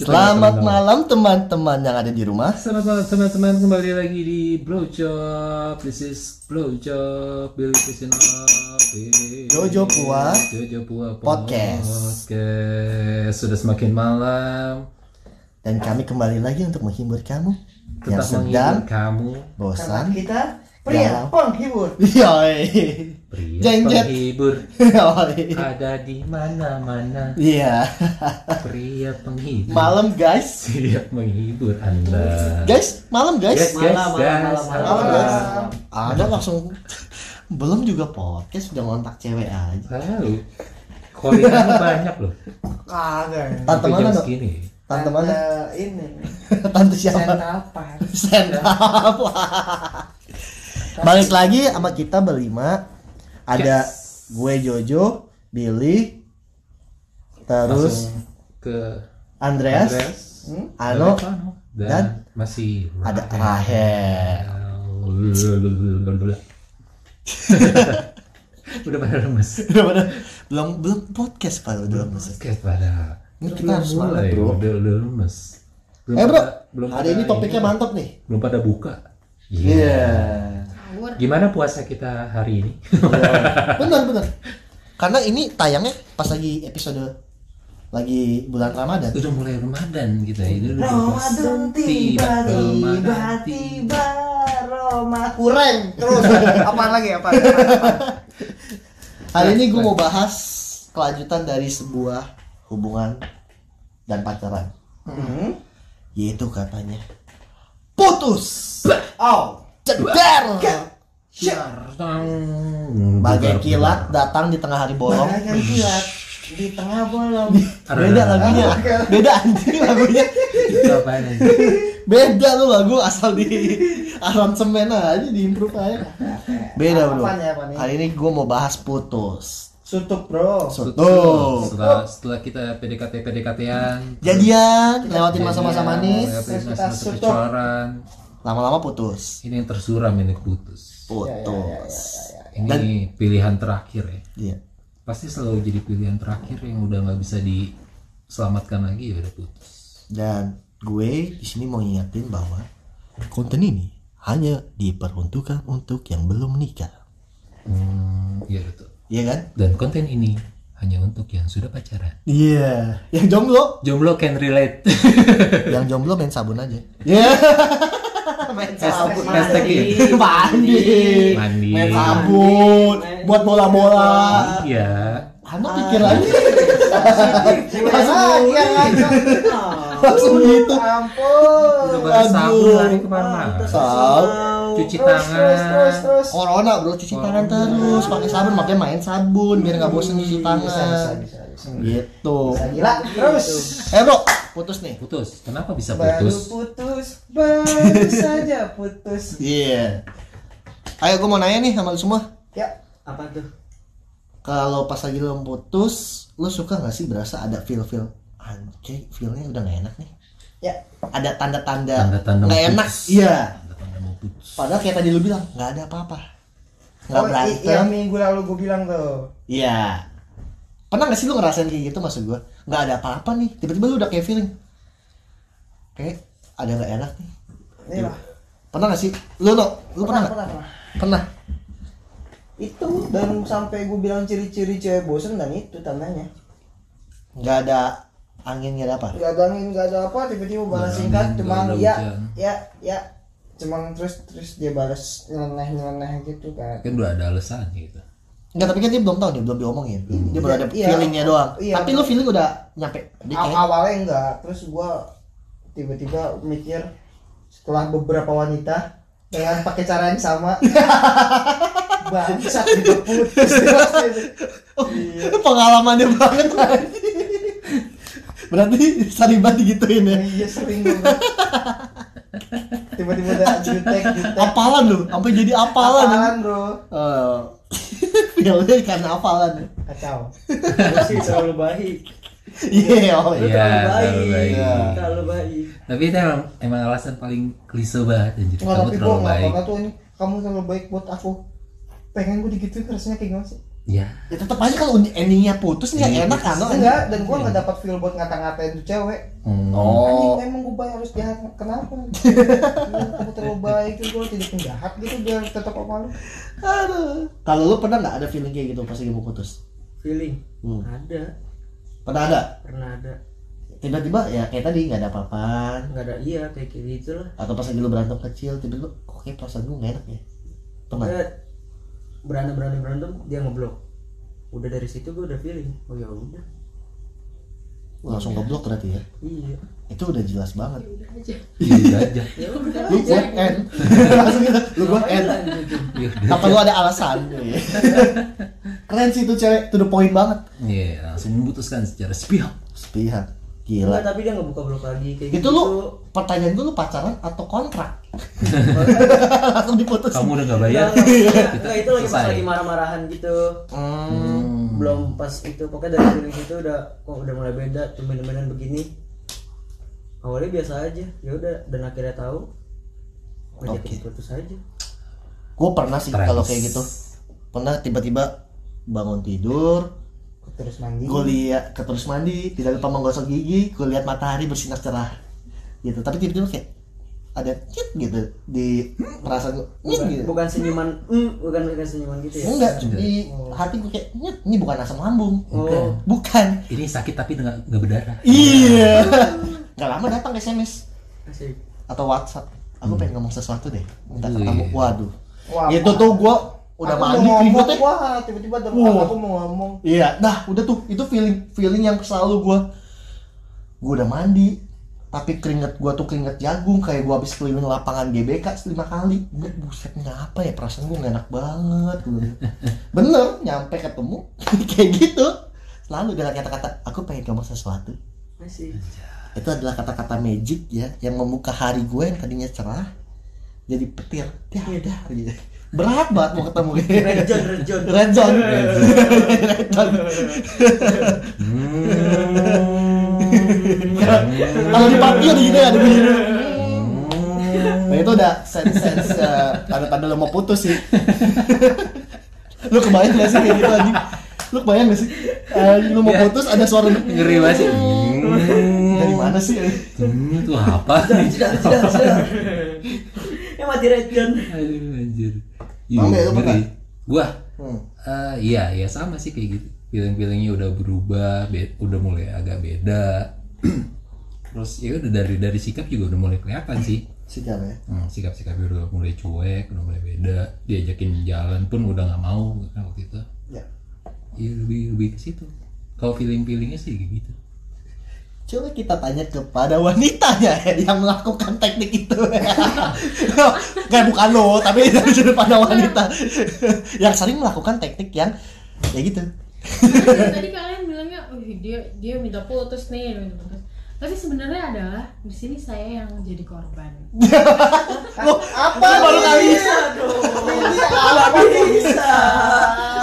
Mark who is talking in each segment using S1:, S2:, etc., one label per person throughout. S1: Selamat malam teman-teman yang ada di rumah.
S2: Selamat malam teman-teman kembali lagi di Blowjob. This is Blowjob Billy Krishna.
S1: Jojo Pua.
S2: Jojo Pua
S1: Podcast.
S2: Podcast. Sudah semakin malam.
S1: Dan kami kembali lagi untuk menghibur kamu
S2: Tetap
S1: yang sedang
S2: menghibur kamu.
S3: Karena
S1: bosan. Iya, eh.
S3: kita pria
S1: Galau.
S3: penghibur.
S1: Yoi.
S2: Pria
S1: Jengjet.
S2: penghibur
S1: Yoi.
S2: ada di mana-mana.
S1: Iya.
S2: Pria penghibur
S1: Malam guys.
S2: siap menghibur Anda.
S1: Guys, malam
S2: Yes,
S1: guys.
S2: guys,
S3: Malam,
S2: guys.
S3: malam, malam,
S1: Malam guys.
S3: Malam.
S1: Ada langsung belum juga podcast sudah ngontak cewek aja.
S2: Tahu. Korean banyak loh.
S3: Kagak.
S1: Tante
S2: Sampai
S1: mana
S2: jam
S1: dok?
S2: segini.
S1: Tante mana?
S3: Ini.
S1: Tante siapa?
S3: Sentapan.
S1: Sentap. Wah. Balik lagi sama kita berlima. Ada gue Jojo, Billy, terus
S2: Langsung ke
S1: Andreas,
S2: Andreas,
S1: Ano,
S2: Ano, dan,
S1: dan
S2: masih
S1: ada Rahel.
S2: Udah pada lemes.
S1: Bener-bener. belum belum podcast pak belum podcast.
S2: Oke, pada.
S1: Ini kita harus semangat,
S2: mulai,
S1: bro.
S2: Udah, udah lemes. Belum
S1: Eh bro,
S2: pada- belum
S1: hari
S2: pada
S1: ini topiknya
S2: ini,
S1: mantap nih.
S2: Belum pada buka.
S1: Iya.
S2: Iya. Gimana puasa kita hari ini?
S1: Bener bener. Iya. Karena ini tayangnya pas lagi episode lagi bulan Ramadan.
S2: udah mulai Ramadan kita ini udah
S3: Ramadan tiba tiba
S2: Ramadan tiba.
S3: tiba Roma kurang terus apaan lagi apaan, apaan, apaan?
S1: Hari ini gue mau bahas kelanjutan dari sebuah hubungan dan pacaran.
S3: Hmm.
S1: Yaitu katanya putus.
S3: Oh,
S1: Ceder. Bagai
S2: Bagai
S1: kilat datang di tengah hari bolong.
S3: bagaikan kilat di tengah bolong.
S1: Beda lagunya. Beda anjing lagunya.
S2: Itu apaan aja?
S1: Beda lu lagu asal di aransemen aja di improve aja. Beda bro.
S3: Apaan ya, apaan ya?
S1: Hari ini gue mau bahas putus.
S3: Sutuk bro.
S1: Putus.
S3: Oh.
S2: Setelah, setelah kita PDKT PDKT-an.
S1: Jadian, lewatin
S2: ya,
S1: masa-masa manis,
S3: terus kita
S2: masa-masa
S3: sutup.
S2: kecoran.
S1: lama-lama putus.
S2: Ini yang tersuram ini
S1: Ya,
S2: putus.
S3: Ya,
S1: Putus.
S2: Ini pilihan terakhir ya.
S1: Iya.
S2: Pasti selalu jadi pilihan terakhir yang udah nggak bisa diselamatkan lagi ya udah putus.
S1: Dan gue di sini mau ngingetin bahwa konten ini hanya diperuntukkan untuk yang belum nikah.
S2: Hmm, iya betul.
S1: Iya kan?
S2: Dan konten ini hanya untuk yang sudah pacaran.
S1: Iya. Yang jomblo,
S2: Jomblo can relate.
S1: yang jomblo main sabun aja. Iya.
S3: Main
S2: Hashtag-
S3: sabun.
S2: hashtag ya.
S1: Mandi.
S2: Mandi.
S1: Main sabun, buat bola-bola.
S3: Ah.
S2: Iya.
S1: Anak pikir lagi
S3: Gimana? Iya langsung.
S1: langsung gitu.
S3: Ampun.
S2: Udah pada sabun
S1: Aduh.
S2: lari kemana?
S1: Sal,
S2: Cuci
S3: Terus, Ah. terus, terus,
S2: tangan.
S3: terus.
S1: corona bro cuci tangan terus pakai sabun makanya main sabun biar nggak bosen
S3: Iya,
S1: cuci tangan. Gitu.
S3: Gila, terus
S1: Eh bro, putus nih.
S2: Putus. Kenapa bisa
S3: baru
S2: putus?
S3: putus, baru saja putus.
S1: Iya. Ayo gue mau nanya nih sama lu semua.
S3: Ya, apa tuh?
S1: Kalau pas lagi lo putus, lo suka gak sih berasa ada feel-feel anjay, feelnya udah gak enak nih.
S3: Ya,
S1: Ada tanda-tanda
S2: Tanda-tanda
S1: gak
S2: putus.
S1: enak. Iya.
S2: Tanda-tanda mau putus.
S1: Padahal kayak tadi lo bilang gak ada apa-apa. Gak
S3: oh, i-
S1: berantem.
S3: yang minggu lalu gue bilang tuh.
S1: Iya. Pernah gak sih lu ngerasain kayak gitu maksud gua? Gak ada apa-apa nih, tiba-tiba lu udah kayak feeling. Kayak ada gak enak nih.
S3: Ini lah.
S1: Pernah gak sih? Lu no, lu pernah, nggak?
S3: pernah, pernah.
S1: Pernah.
S3: Itu dan sampai gue bilang ciri-ciri cewek bosen dan itu tandanya.
S1: Gak ada angin, gak ada apa.
S3: Gak ada angin, gak ada apa, tiba-tiba balas
S2: ada
S3: singkat,
S2: angin,
S3: cuma
S2: nggak ada
S3: ya,
S2: hujan.
S3: ya, ya, cuma terus terus dia balas nyeleneh-nyeleneh gitu kan.
S2: Kan udah ada alasan gitu.
S1: Enggak, tapi kan dia belum tahu dia belum diomongin. Dia baru ada
S3: Iya.
S1: feelingnya doang.
S3: Iya.
S1: Tapi lu feeling udah nyampe. Dia
S3: Aw-
S1: kayak,
S3: awalnya enggak terus gua tiba-tiba mikir setelah beberapa wanita dengan pakai cara yang sama bangsat juga putus Iya.
S1: oh, pengalamannya banget anjing. Berarti Sariban digituin ya.
S3: iya sering banget tiba-tiba udah jutek jutek
S1: Apalan lu, sampai jadi apalan.
S3: Apalan, bro
S1: Eh, feelnya karena apalan.
S3: kacau
S4: Masih terlalu baik.
S1: Iya, oh iya.
S2: Iya,
S4: terlalu
S2: terlalu
S4: baik.
S2: baik.
S4: Terlalu baik.
S2: Tapi itu emang, emang alasan paling klise banget anjir.
S3: nggak
S2: Kamu
S3: tapi gua
S2: terlalu
S3: nggak
S2: baik.
S3: pernah tuh ini kamu terlalu baik buat aku pengen gua digituin rasanya kayak gimana sih
S2: Iya.
S1: ya tetap aja kalau undi- endingnya putus nggak
S2: Iya.
S1: enak kan lo anjing?
S3: enggak dan gua nggak dapat feel buat ngata-ngatain tuh cewek
S1: oh
S3: Anjing, emang gue baik harus jahat kenapa Anjing, kamu terlalu baik gue jadi penjahat gitu biar tetap sama lu
S1: aduh kalau lu pernah nggak ada feeling kayak gitu pas lagi mau putus
S4: feeling
S1: Hmm.
S4: ada
S1: pernah ada
S4: pernah ada
S1: tiba-tiba ya kayak tadi nggak ada apa-apaan
S4: nggak ada iya kayak kayak gitu lah
S1: atau pas lagi lu berantem kecil tiba-tiba kok kayak perasaan gue nggak enak ya pernah
S4: Dia berantem berantem berantem dia ngeblok udah dari situ gue udah feeling oh ya udah
S1: Wah, langsung keblok berarti ya
S4: iya
S1: itu udah jelas banget
S2: Iya aja.
S4: ya udah
S1: lu gue end langsung gitu lu gue
S4: Ngapain gitu.
S1: end
S4: lanjutin?
S2: Iya udah.
S1: apa lu ada alasan keren sih itu cewek to the point banget
S2: Iya, langsung memutuskan secara sepihak.
S1: sepihak gila
S4: Enggak, tapi dia nggak buka blok lagi kayak
S1: itu
S4: gitu.
S1: lu pertanyaan gue lu pacaran atau kontrak langsung diputus
S2: Kamu udah nggak
S1: Iya.
S2: bayar.
S4: Enggak, enggak, enggak, enggak, itu lagi pas
S2: Selesai.
S4: lagi marah-marahan gitu.
S1: Hmm.
S4: Belum pas itu pokoknya dari feeling itu udah kok udah mulai beda temen-temenan begini. Awalnya biasa aja, ya udah dan akhirnya tahu. Oke.
S1: Oke.
S4: putus aja.
S1: gue pernah sih
S2: Trans.
S1: kalau kayak gitu pernah tiba-tiba bangun tidur
S3: terus mandi
S4: Hmm.
S1: gue lihat ke terus mandi tidak lupa menggosok gigi gue lihat matahari bersinar cerah gitu tapi tiba-tiba kayak ada cit gitu di perasaan gue nyet
S4: Bukan,
S1: gitu
S4: bukan senyuman, mm, bukan bukan senyuman gitu ya.
S1: enggak di hati gue kayak nyet ini bukan asam lambung
S4: Oh.
S1: bukan
S2: Ini sakit tapi nggak nggak berdarah.
S1: iya nggak lama datang sms
S4: Asik.
S1: atau whatsapp aku pengen ngomong sesuatu deh minta
S2: Wih.
S1: ketemu waduh
S3: Wah,
S1: itu tuh gue udah
S3: Aku
S1: mandi
S3: mau ngomong,
S1: keringet ya
S3: wah tiba-tiba ada
S1: Wah.
S3: aku mau ngomong
S1: Iya, nah udah tuh itu feeling feeling yang selalu gua gua udah mandi tapi keringet gua tuh keringet jagung kayak gua habis keliling lapangan GBK lima kali gue buset kenapa ya perasaan gua gak enak banget gua bilang. bener nyampe ketemu kayak gitu selalu dengan kata-kata aku pengen ngomong sesuatu
S4: Asik.
S1: itu adalah kata-kata magic ya yang membuka hari gue yang tadinya cerah jadi petir ya udah gitu. berat banget mau ketemu
S4: Rejon, rejon.
S1: Red Zone. Red Zone. Kalau di party ada gitu ya, ada bunyi. Nah itu udah sense-sense eh, tanda-tanda lo mau putus sih. lu kebayang gak sih kayak gitu anjing? Lu kebayang gak sih? Eh, lu mau putus ada suara
S2: Ngeri banget sih.
S1: Dari mana sih?
S2: Hmm, itu apa?
S4: Sudah, sudah, sudah. Ya mati rejon.
S2: Aduh anjir.
S1: Bang, ya, lu pernah?
S2: Gua
S1: Hmm.
S2: eh, iya, ya sama sih kayak gitu. Feeling-feelingnya udah berubah, be- udah mulai agak beda. Terus ya udah dari dari sikap juga udah mulai kelihatan sih.
S1: Sikap ya.
S2: Hmm, sikap-sikapnya udah mulai cuek, udah mulai beda. Diajakin jalan pun udah nggak mau kan waktu itu.
S1: Ya.
S2: Iya lebih lebih ke situ. Kalau feeling-feelingnya sih kayak gitu.
S1: Coba kita tanya kepada wanitanya yang melakukan teknik itu. Gak bukan lo, tapi dari sudut pandang wanita yang sering melakukan teknik yang ya gitu.
S5: Tadi- tadi kalian bilangnya "Wih, dia dia minta putus nih dia minta putus tapi sebenarnya adalah di sini saya yang jadi korban
S1: Loh, Lu
S3: apa
S1: baru kali ini?
S4: Bisa dong.
S3: Iya,
S4: Nggak bisa.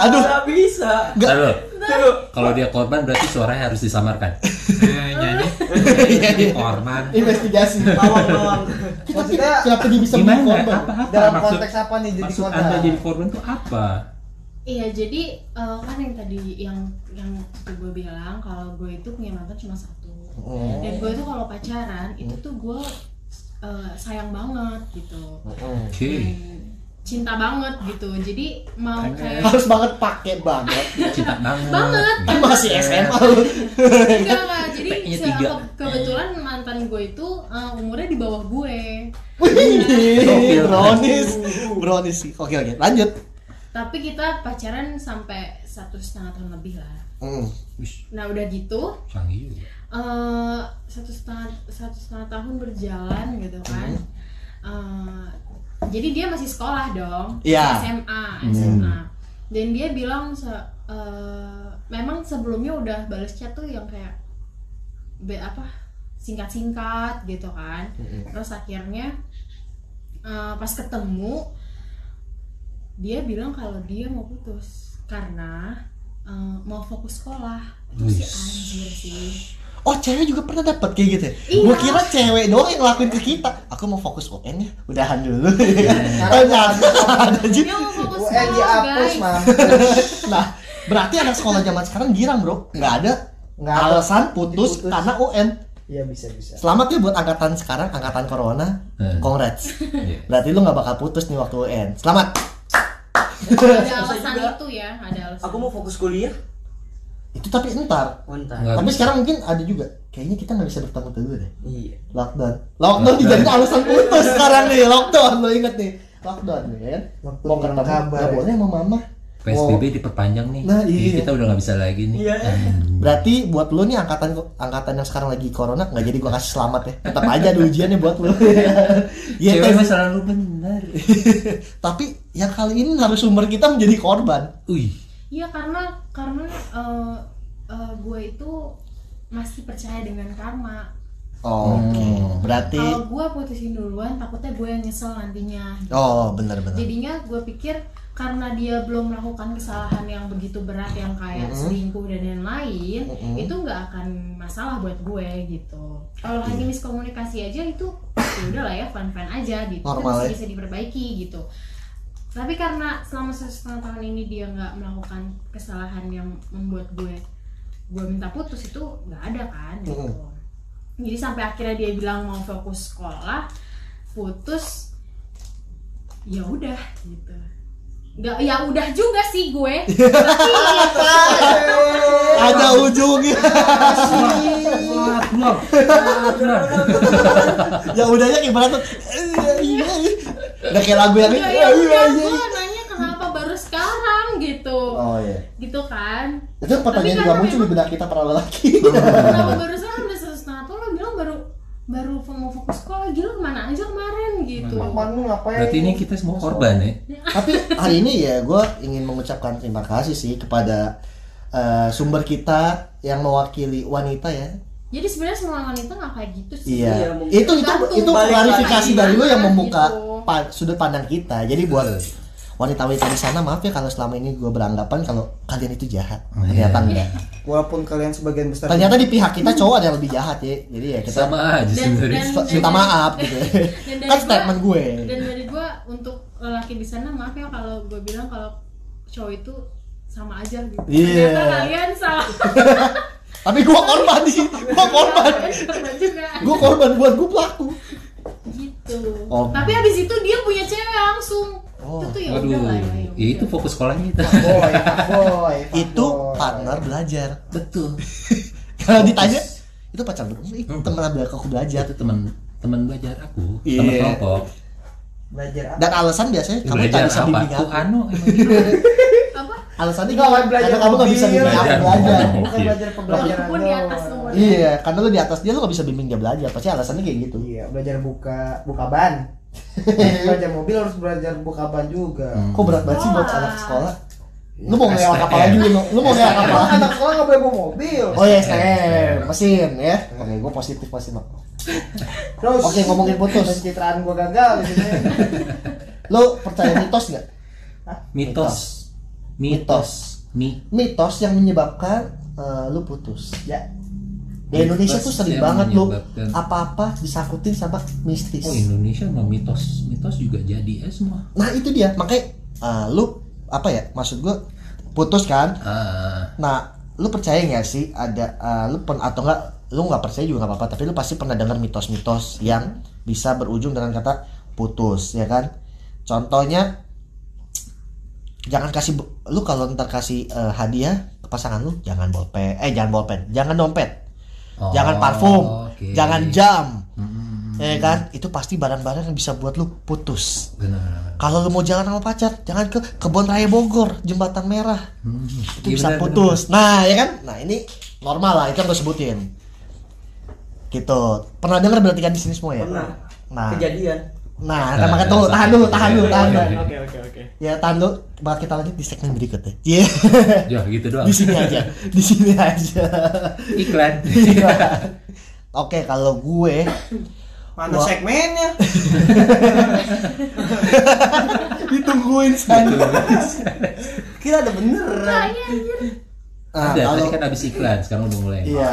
S1: Aduh.
S4: Nggak bisa.
S1: Nggak.
S2: Lalu,
S4: Tuh.
S2: kalau dia korban berarti suaranya harus disamarkan. Eh, nyanyi.
S1: Iya, iya.
S2: korban.
S1: Investigasi.
S4: Bawang-bawang.
S1: Kita
S3: Maksudnya,
S1: kenapa dia bisa
S2: Gimana?
S1: menjadi korban?
S2: Apa apa?
S3: dalam
S2: maksud
S3: konteks apa nih jadi
S2: maksud
S3: kota
S2: anda jadi korban tuh apa?
S5: iya jadi eh, kan yang tadi yang yang gue bilang kalau gue itu punya mantan cuma satu
S2: Oh.
S1: Hmm.
S5: dan gue itu kalau pacaran itu tuh gue eh, sayang banget gitu
S1: Hmm.
S2: Oke.
S5: Dan cinta banget gitu jadi mau kayak
S1: Harus banget pakai banget.
S2: Cinta banget. Iya,
S5: Banget.
S1: Kan masih
S2: Eh.
S1: SMA lu.
S5: enggak enggak gitu jadi
S2: P-nya
S5: se-
S2: tiga.
S5: ke- kebetulan mantan gue itu eh, umurnya di bawah gue
S1: Wih, Brownies. Brownies sih. Oke, oke. Lanjut.
S5: tapi kita pacaran sampai satu setengah tahun lebih lah
S1: Hmm.
S2: Wih,
S5: nah udah gitu
S2: canggih juga.
S5: eh satu setengah satu setengah tahun berjalan gitu kan Eh, jadi dia masih sekolah dong
S1: Iya.
S5: SMA SMA dan dia bilang se- eh, memang sebelumnya udah balas chat tuh yang kayak be apa singkat-singkat gitu kan terus akhirnya eh, pas ketemu dia bilang kalau dia mau putus karena eh, mau fokus sekolah itu sih
S2: Wis.
S5: anjir sih
S1: Oh cewek juga pernah dapat kayak gitu ya?
S5: Iya.
S1: Gue kira cewek doang yang ngelakuin ke kita Aku mau fokus UN ya, udahan dulu
S2: Iya.
S3: Karena
S1: Ternyata ada juga
S5: Ya, Dia mau fokus
S3: UN
S5: sekolah,
S3: dihapus
S5: guys.
S3: mam
S1: Nah, Berarti anak sekolah zaman sekarang girang bro, nggak ada
S3: Nggak ada.
S1: alasan putus,
S3: Diputus.
S1: karena UN.
S3: Iya bisa bisa.
S1: Selamat ya buat angkatan sekarang, angkatan corona,
S2: Hmm.
S1: congrats.
S2: Iya.
S1: Berarti lu nggak bakal putus nih waktu UN. Selamat.
S5: ada
S4: Susah
S5: alasan
S4: juga.
S5: itu ya ada alasan
S4: Aku mau fokus kuliah.
S1: Itu tapi ntar.
S4: Bentar.
S2: Nggak
S1: Tapi
S2: bisa.
S1: sekarang mungkin ada juga. Kayaknya kita nggak bisa bertemu dulu deh.
S4: Iya.
S1: Lockdown. Lockdown dijadiin alasan putus sekarang nih. Lockdown lo inget nih. Lockdown nih ya kan.
S3: Waktu
S1: Mau
S3: hilang
S1: ketemu
S3: kabar
S1: nggak
S3: ya.
S1: boleh sama mama.
S2: PSBB diperpanjang nih.
S1: Nah,
S2: Jadi
S1: iya.
S2: kita udah nggak bisa lagi nih. Hmm.
S4: Iya.
S1: Berarti buat lu nih angkatan angkatan yang sekarang lagi corona nggak jadi gua kasih selamat ya. Tetap aja ada ujiannya buat lu. Iya.
S2: Cewek
S1: tapi-
S2: mah selalu benar.
S1: Tapi yang kali ini narasumber kita menjadi korban.
S2: Wih,
S5: Iya karena karena eh, eh, gue itu masih percaya dengan karma.
S1: Oke.
S2: Hmm.
S1: Berarti
S5: Kalau gue putusin duluan, takutnya gue yang nyesel nantinya.
S1: oh benar-benar.
S5: Jadinya gue pikir karena dia belum melakukan kesalahan yang begitu berat yang
S1: Mm-mm.
S5: kayak selingkuh dan lain-lain,
S1: Mm-mm.
S5: itu nggak akan masalah buat gue gitu. Kalau
S1: Iya.
S5: hanya miskomunikasi aja itu ya udahlah ya fan-fan aja gitu. Itu
S1: Normal
S5: masih
S1: ya.
S5: bisa diperbaiki gitu. Tapi karena selama satu setengah tahun ini dia nggak melakukan kesalahan yang membuat gue gue minta putus itu nggak ada kan gitu. Jadi sampai akhirnya dia bilang mau fokus sekolah, putus, ya udah gitu. Nggak, ya udah juga sih gue.
S1: Ada ujungnya. ya udahnya gimana tuh? Udah kayak lagu yang
S5: Ya,
S1: ini.
S5: ya udah gue nanya kenapa baru sekarang gitu,
S1: Oh iya.
S5: gitu kan.
S1: Itu pertanyaan
S5: Tapi
S1: juga
S5: karena
S1: muncul di
S5: memang-
S1: benak kita para lelaki.
S5: Kenapa baru sekarang udah satu setengah tahun lo bilang baru baru mau fokus sekolah gila kemana aja kemarin gitu.
S3: Kapan lu ngapain?
S2: berarti ini kita semua korban ya.
S5: Iya.
S1: Tapi hari ini ya gue ingin mengucapkan terima kasih sih kepada eh, sumber kita yang mewakili wanita ya.
S5: Jadi sebenarnya semua wanita nggak kayak gitu sih.
S1: Iya.
S4: Iya, mungkin.
S1: itu itu itu
S4: Balik
S1: klarifikasi
S5: lagi.
S1: dari lu yang
S5: Gitu.
S1: membuka pa- sudut pandang kita. Jadi buat
S2: Eh.
S1: wanita-wanita di sana maaf ya kalau selama ini gue beranggapan kalau kalian itu jahat.
S2: Iya.
S1: Ternyata enggak.
S3: Walaupun kalian sebagian besar.
S1: Ternyata di pihak kita cowok ada yang lebih jahat ya. Jadi ya kita
S2: Sama aja
S5: Dan-
S2: sebenarnya.
S5: dan-
S1: So- minta maaf gitu
S5: Dan dari
S1: kan
S5: gua-
S1: statement gue
S5: dan dari gue untuk lelaki di sana maaf ya kalau gue bilang kalau cowok itu sama aja gitu
S1: Iya.
S5: ternyata kalian sama
S1: tapi gue korban sih gue korban
S5: Sama juga
S1: gue korban buat gue pelaku
S5: gitu
S1: Oh.
S5: tapi habis itu dia punya cewek langsung
S1: Oh.
S5: itu tuh ya
S2: Waduh,
S5: udah lah
S2: ya itu fokus sekolahnya kita.
S3: Boy, boy,
S1: itu partner belajar
S2: Betul.
S1: kalau ditanya itu pacar lu Ih,
S2: Oh.
S1: temen belajar aku belajar
S2: Iya, Itu teman teman belajar aku,
S1: Iya.
S2: teman kelompok.
S3: Belajar apa?
S1: dan alasan biasanya kamu tak
S2: Belajar
S1: bisa
S2: apa?
S1: bimbing
S2: Tuh
S1: aku
S2: anu emang gitu.
S5: apa
S1: alasannya
S3: Nggak,
S1: gini,
S3: Iya, belajar
S1: karena kamu gak bisa
S3: mobil.
S1: bimbing aku
S2: Belajar
S1: belajar
S2: mobil.
S3: Bukan belajar pembelajaran
S5: Walaupun di
S3: doang.
S5: atas nomor.
S1: iya karena lu di atas dia lu gak bisa bimbing dia belajar pasti alasannya kayak gitu
S3: Iya, belajar buka buka ban. belajar mobil harus belajar buka ban juga. Iya.
S1: kok berat banget sih buat
S5: Sekolah.
S1: anak sekolah Hmm.
S2: Iya,
S1: lu mau ngelewat apa
S2: STM.
S1: lagi lu lu mau ngelewat apa
S3: Anak anak sekolah nggak boleh bawa mobil.
S1: oh ya STM mesin ya oke gue positif pasti Mak.
S3: Terus
S1: Oke, ngomongin putus.
S3: Pencitraan gua gagal di sini.
S1: Lu percaya mitos nggak?
S2: Mitos. Mitos. Mi.
S1: Mitos yang menyebabkan eh, lu putus.
S3: ya.
S1: Di Indonesia tuh sering
S2: yang
S1: banget lu
S2: menyebabkan-
S1: apa-apa disangkutin sama mistis.
S2: Oh Indonesia mah mitos, mitos juga jadi ya semua.
S1: Nah, itu dia. Makanya eh, lu apa ya? Maksud gua putus kan?
S2: Ah,
S1: Nah, lu percaya nggak sih ada eh, lu pen atau nggak lu nggak percaya juga nggak apa-apa tapi lu pasti pernah dengar mitos-mitos yang bisa berujung dengan kata putus ya kan contohnya jangan kasih bu- lu kalau ntar kasih eh, hadiah ke pasangan lu jangan bolpen eh jangan bolpen jangan dompet
S2: Oh,
S1: jangan parfum
S2: oke.
S1: jangan jam
S2: Mm,
S1: ya kan itu pasti barang-barang yang bisa buat lu putus
S2: benar.
S1: kalau lu mau jalan sama pacar jangan ke kebon raya Bogor jembatan merah
S2: Hmm, iya,
S1: itu bisa
S2: benar,
S1: putus nah ya kan nah ini normal lah itu yang gue sebutin gitu pernah dengar berarti kan di sini semua ya
S4: Pernah.
S1: nah
S4: Kejadian.
S1: nah,
S2: Nah,
S1: nah, makanya
S2: nah,
S1: tuh
S2: nah,
S1: tahan
S2: nah,
S1: dulu
S2: nah,
S1: tahan
S2: nah,
S1: dulu
S2: nah,
S1: tahan
S2: nah,
S1: dulu.
S2: nah.
S4: Oke oke oke.
S1: ya tahan dulu bakal kita lanjut di segmen berikutnya iya
S2: benar. Ya gitu doang.
S1: di sini aja di sini aja
S2: Iklan. Iya. Gitu.
S1: oke kalau gue
S3: Mana
S1: Wah.
S3: segmennya?
S2: Nah,
S1: ditungguin sana
S3: Kita ada beneran.
S5: Kayaknya anjir
S2: Ada,
S1: nah,
S2: tadi
S1: kalau
S2: kan habis iklan, sekarang udah mulai.
S1: Iya.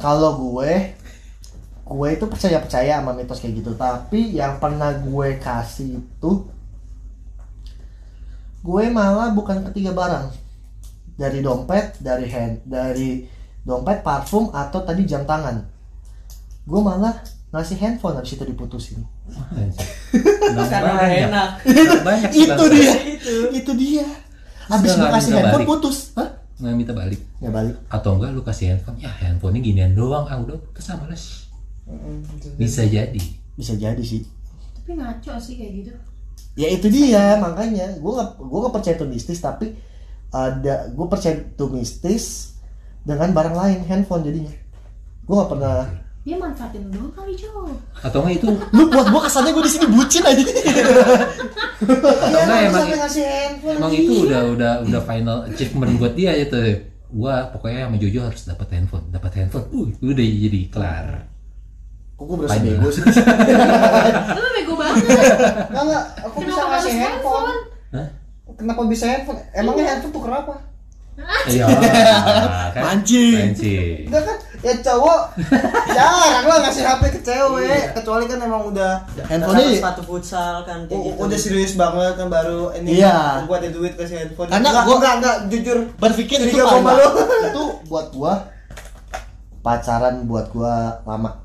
S1: Kalau gue gue itu percaya percaya sama mitos kayak gitu, tapi yang pernah gue kasih itu gue malah bukan ketiga barang. dari dompet dari hand dari dompet parfum atau tadi jam tangan gue malah ngasih handphone habis itu diputusin
S4: karena
S2: Karena
S4: nggak enak
S2: Banyak sih,
S1: itu
S2: Bang.
S1: dia
S4: itu
S1: itu dia habis
S2: Sudah
S1: gue
S2: nggak
S1: kasih
S2: minta
S1: handphone
S2: balik.
S1: putus Hah?
S2: Nggak minta balik.
S1: nggak balik
S2: Atau enggak lu kasih handphone. Ya handphonenya ginian doang. Ah udah kesana males.
S1: gitu.
S2: Bisa jadi.
S1: bisa jadi sih
S5: tapi ngaco sih kayak gitu
S1: ya itu dia makanya gue gak gue gak percaya itu mistis tapi ada gue percaya itu mistis dengan barang lain handphone jadinya gue gak pernah
S5: dia manfaatin lu doang kali Jo
S2: Atau enggak itu.
S1: lu buat gue kesannya gue di sini bucin aja
S2: Atau enggak
S3: Iya,
S2: emang,
S3: sampai ngasih handphone.
S2: emang itu udah udah udah final achievement buat dia itu. Gua pokoknya sama Jojo harus dapat handphone, dapat handphone. Uh, udah jadi kelar.
S1: kok gue berasa
S2: Panjang.
S1: bego sih
S5: lu bego banget
S3: Enggak enggak, aku bisa
S5: kenapa
S3: ngasih
S5: harus
S3: handphone.
S5: handphone
S3: Kenapa bisa handphone? Emangnya handphone tuh kenapa?
S2: Iya. kan?
S1: mancing
S2: Mancing.
S3: Enggak kan? Ya cowok jarang lah ngasih HP ke cewek,
S1: Iya.
S3: kecuali kan emang udah
S1: handphone
S4: sepatu futsal kan kayak
S3: u-
S4: gitu
S3: Oh, udah serius banget kan baru ini
S1: Iya.
S3: gua ada duit kasih handphone.
S1: Karena
S3: enggak,
S1: gua-
S3: enggak enggak jujur.
S1: berpikir itu
S3: Curiga
S1: tai.
S3: sama lu.
S1: itu buat gue pacaran buat gue lama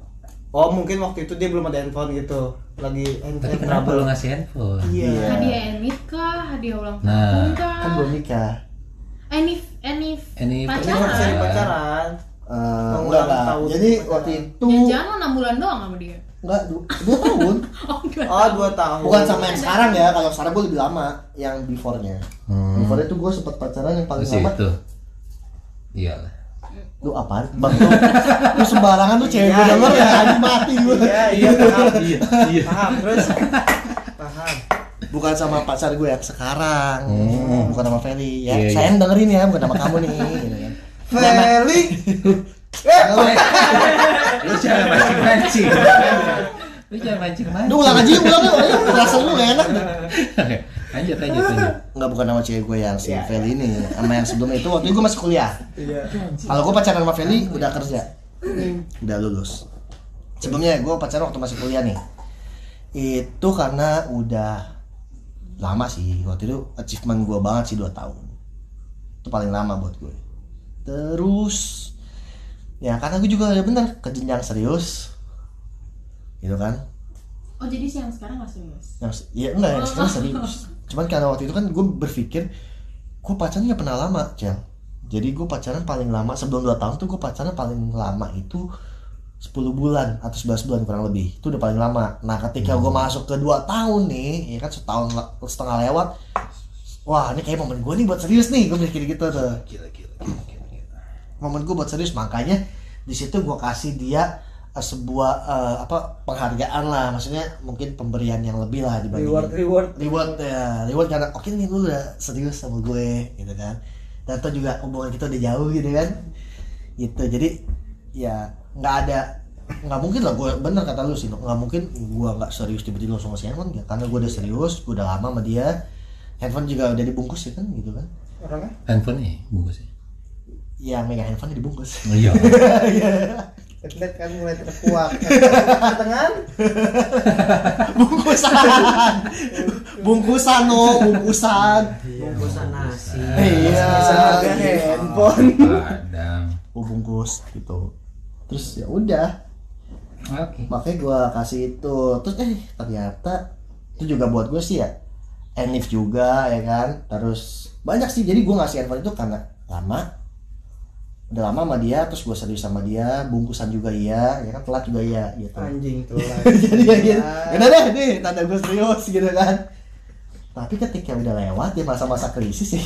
S3: Oh, mungkin waktu itu dia belum ada handphone gitu. Lagi
S2: Tapi
S3: handphone
S2: kenapa lu
S3: trouble.
S2: ngasih handphone?
S3: Iya.
S5: hadiah enif kah hadiah ulang tahun
S2: Nah,
S5: kah
S1: kan belum nikah
S5: enif enif
S2: Ini
S3: Ini masih
S5: pacaran
S2: pacaran.
S3: pacaran.
S1: Eh,
S3: Mau
S1: enggak,
S3: ulang
S1: Bang.
S3: tahun.
S1: jadi waktu itu
S5: jangan lo enam bulan doang sama dia
S1: enggak du- dua tahun
S5: oh enggak
S3: Oh, 2 tahun.
S1: bukan sama yang sekarang ya kalau sekarang gue lebih lama yang before-nya
S2: Hmm.
S1: before itu gue sempet pacaran yang paling
S2: Terus ya
S1: lama
S2: itu. Iya Iyalah.
S1: lu apaan bang lu, lu sembarangan lu cewek gue
S3: Iya,
S1: denger ya anjing mati gue
S3: Iya, iya, paham.
S2: Iya.
S3: Paham, terus. Paham.
S1: bukan sama pacar gue yang sekarang
S2: Hmm.
S1: bukan sama Feli ya
S2: Iya, iya.
S1: sayang dengerin ya bukan sama kamu nih gitu kan.
S3: Feli.
S2: Lu jangan mancing-mancing. Lu jangan mancing-mancing.
S1: Duh, ulang aja yuk, ulang yuk Ayo, perasaan lu gak enak
S2: Lanjut lanjut lanjut.
S1: Enggak bukan sama cewek gue yang si
S3: Iya,
S1: Feli ini sama yang sebelumnya itu waktu itu gue masih kuliah
S3: Iya.
S1: kalau gue pacaran sama Feli udah kerja udah lulus sebelumnya gue pacaran waktu masih kuliah nih itu karena udah lama sih waktu itu achievement gue banget sih 2 tahun itu paling lama buat gue terus ya karena gue juga ya bener ke jenjang serius gitu kan
S5: oh jadi sih yang sekarang nggak serius
S1: yang se- ya enggak yang sekarang serius cuman karena waktu itu kan gue berpikir gue pacaran nggak pernah lama Cel jadi gue pacaran paling lama sebelum 2 tahun tuh gue pacaran paling lama itu 10 bulan atau 11 bulan kurang lebih itu udah paling lama nah ketika gue
S2: Hmm.
S1: masuk ke 2 tahun nih ya kan setahun le- setengah lewat wah ini kayak momen gue nih buat serius nih gue mikir gitu tuh
S2: Gila gila gila. gila, gila.
S1: momen gue buat serius makanya di situ gue kasih dia eh, sebuah eh, apa penghargaan lah maksudnya mungkin pemberian yang lebih lah dibanding
S4: reward reward
S1: reward ya reward karena oke nih lu udah serius sama gue gitu kan dan toh juga hubungan kita udah jauh gitu kan gitu jadi ya nggak ada nggak mungkin lah gue bener kata lu sih Nuk. nggak mungkin gue nggak serius tiba-tiba langsung ngasih handphone ya. karena gue udah serius gue udah lama sama dia handphone juga udah dibungkus ya kan gitu kan
S3: Orangnya
S2: Handphone nih bungkusnya.
S1: ya megang handphone dibungkus
S2: Oh, Iya.
S3: Lihat kan mulai terkuak. Ketengan.
S1: bungkusan bungkusan no bungkusan
S4: bungkusan nasi
S1: iya
S3: Bisa ada handphone.
S2: Padang.
S1: Gua bungkus gitu terus ya udah
S2: Oke.
S1: makanya gue kasih itu terus eh ternyata itu juga buat gue sih ya enif juga ya kan terus banyak sih jadi gue ngasih handphone itu karena lama udah lama sama dia terus gue serius sama dia bungkusan juga iya ya kan telat juga iya gitu
S3: Anjing tuh.
S1: jadi ya gitu udah deh nih tanda gue serius gitu kan tapi ketika udah lewat ya masa-masa krisis sih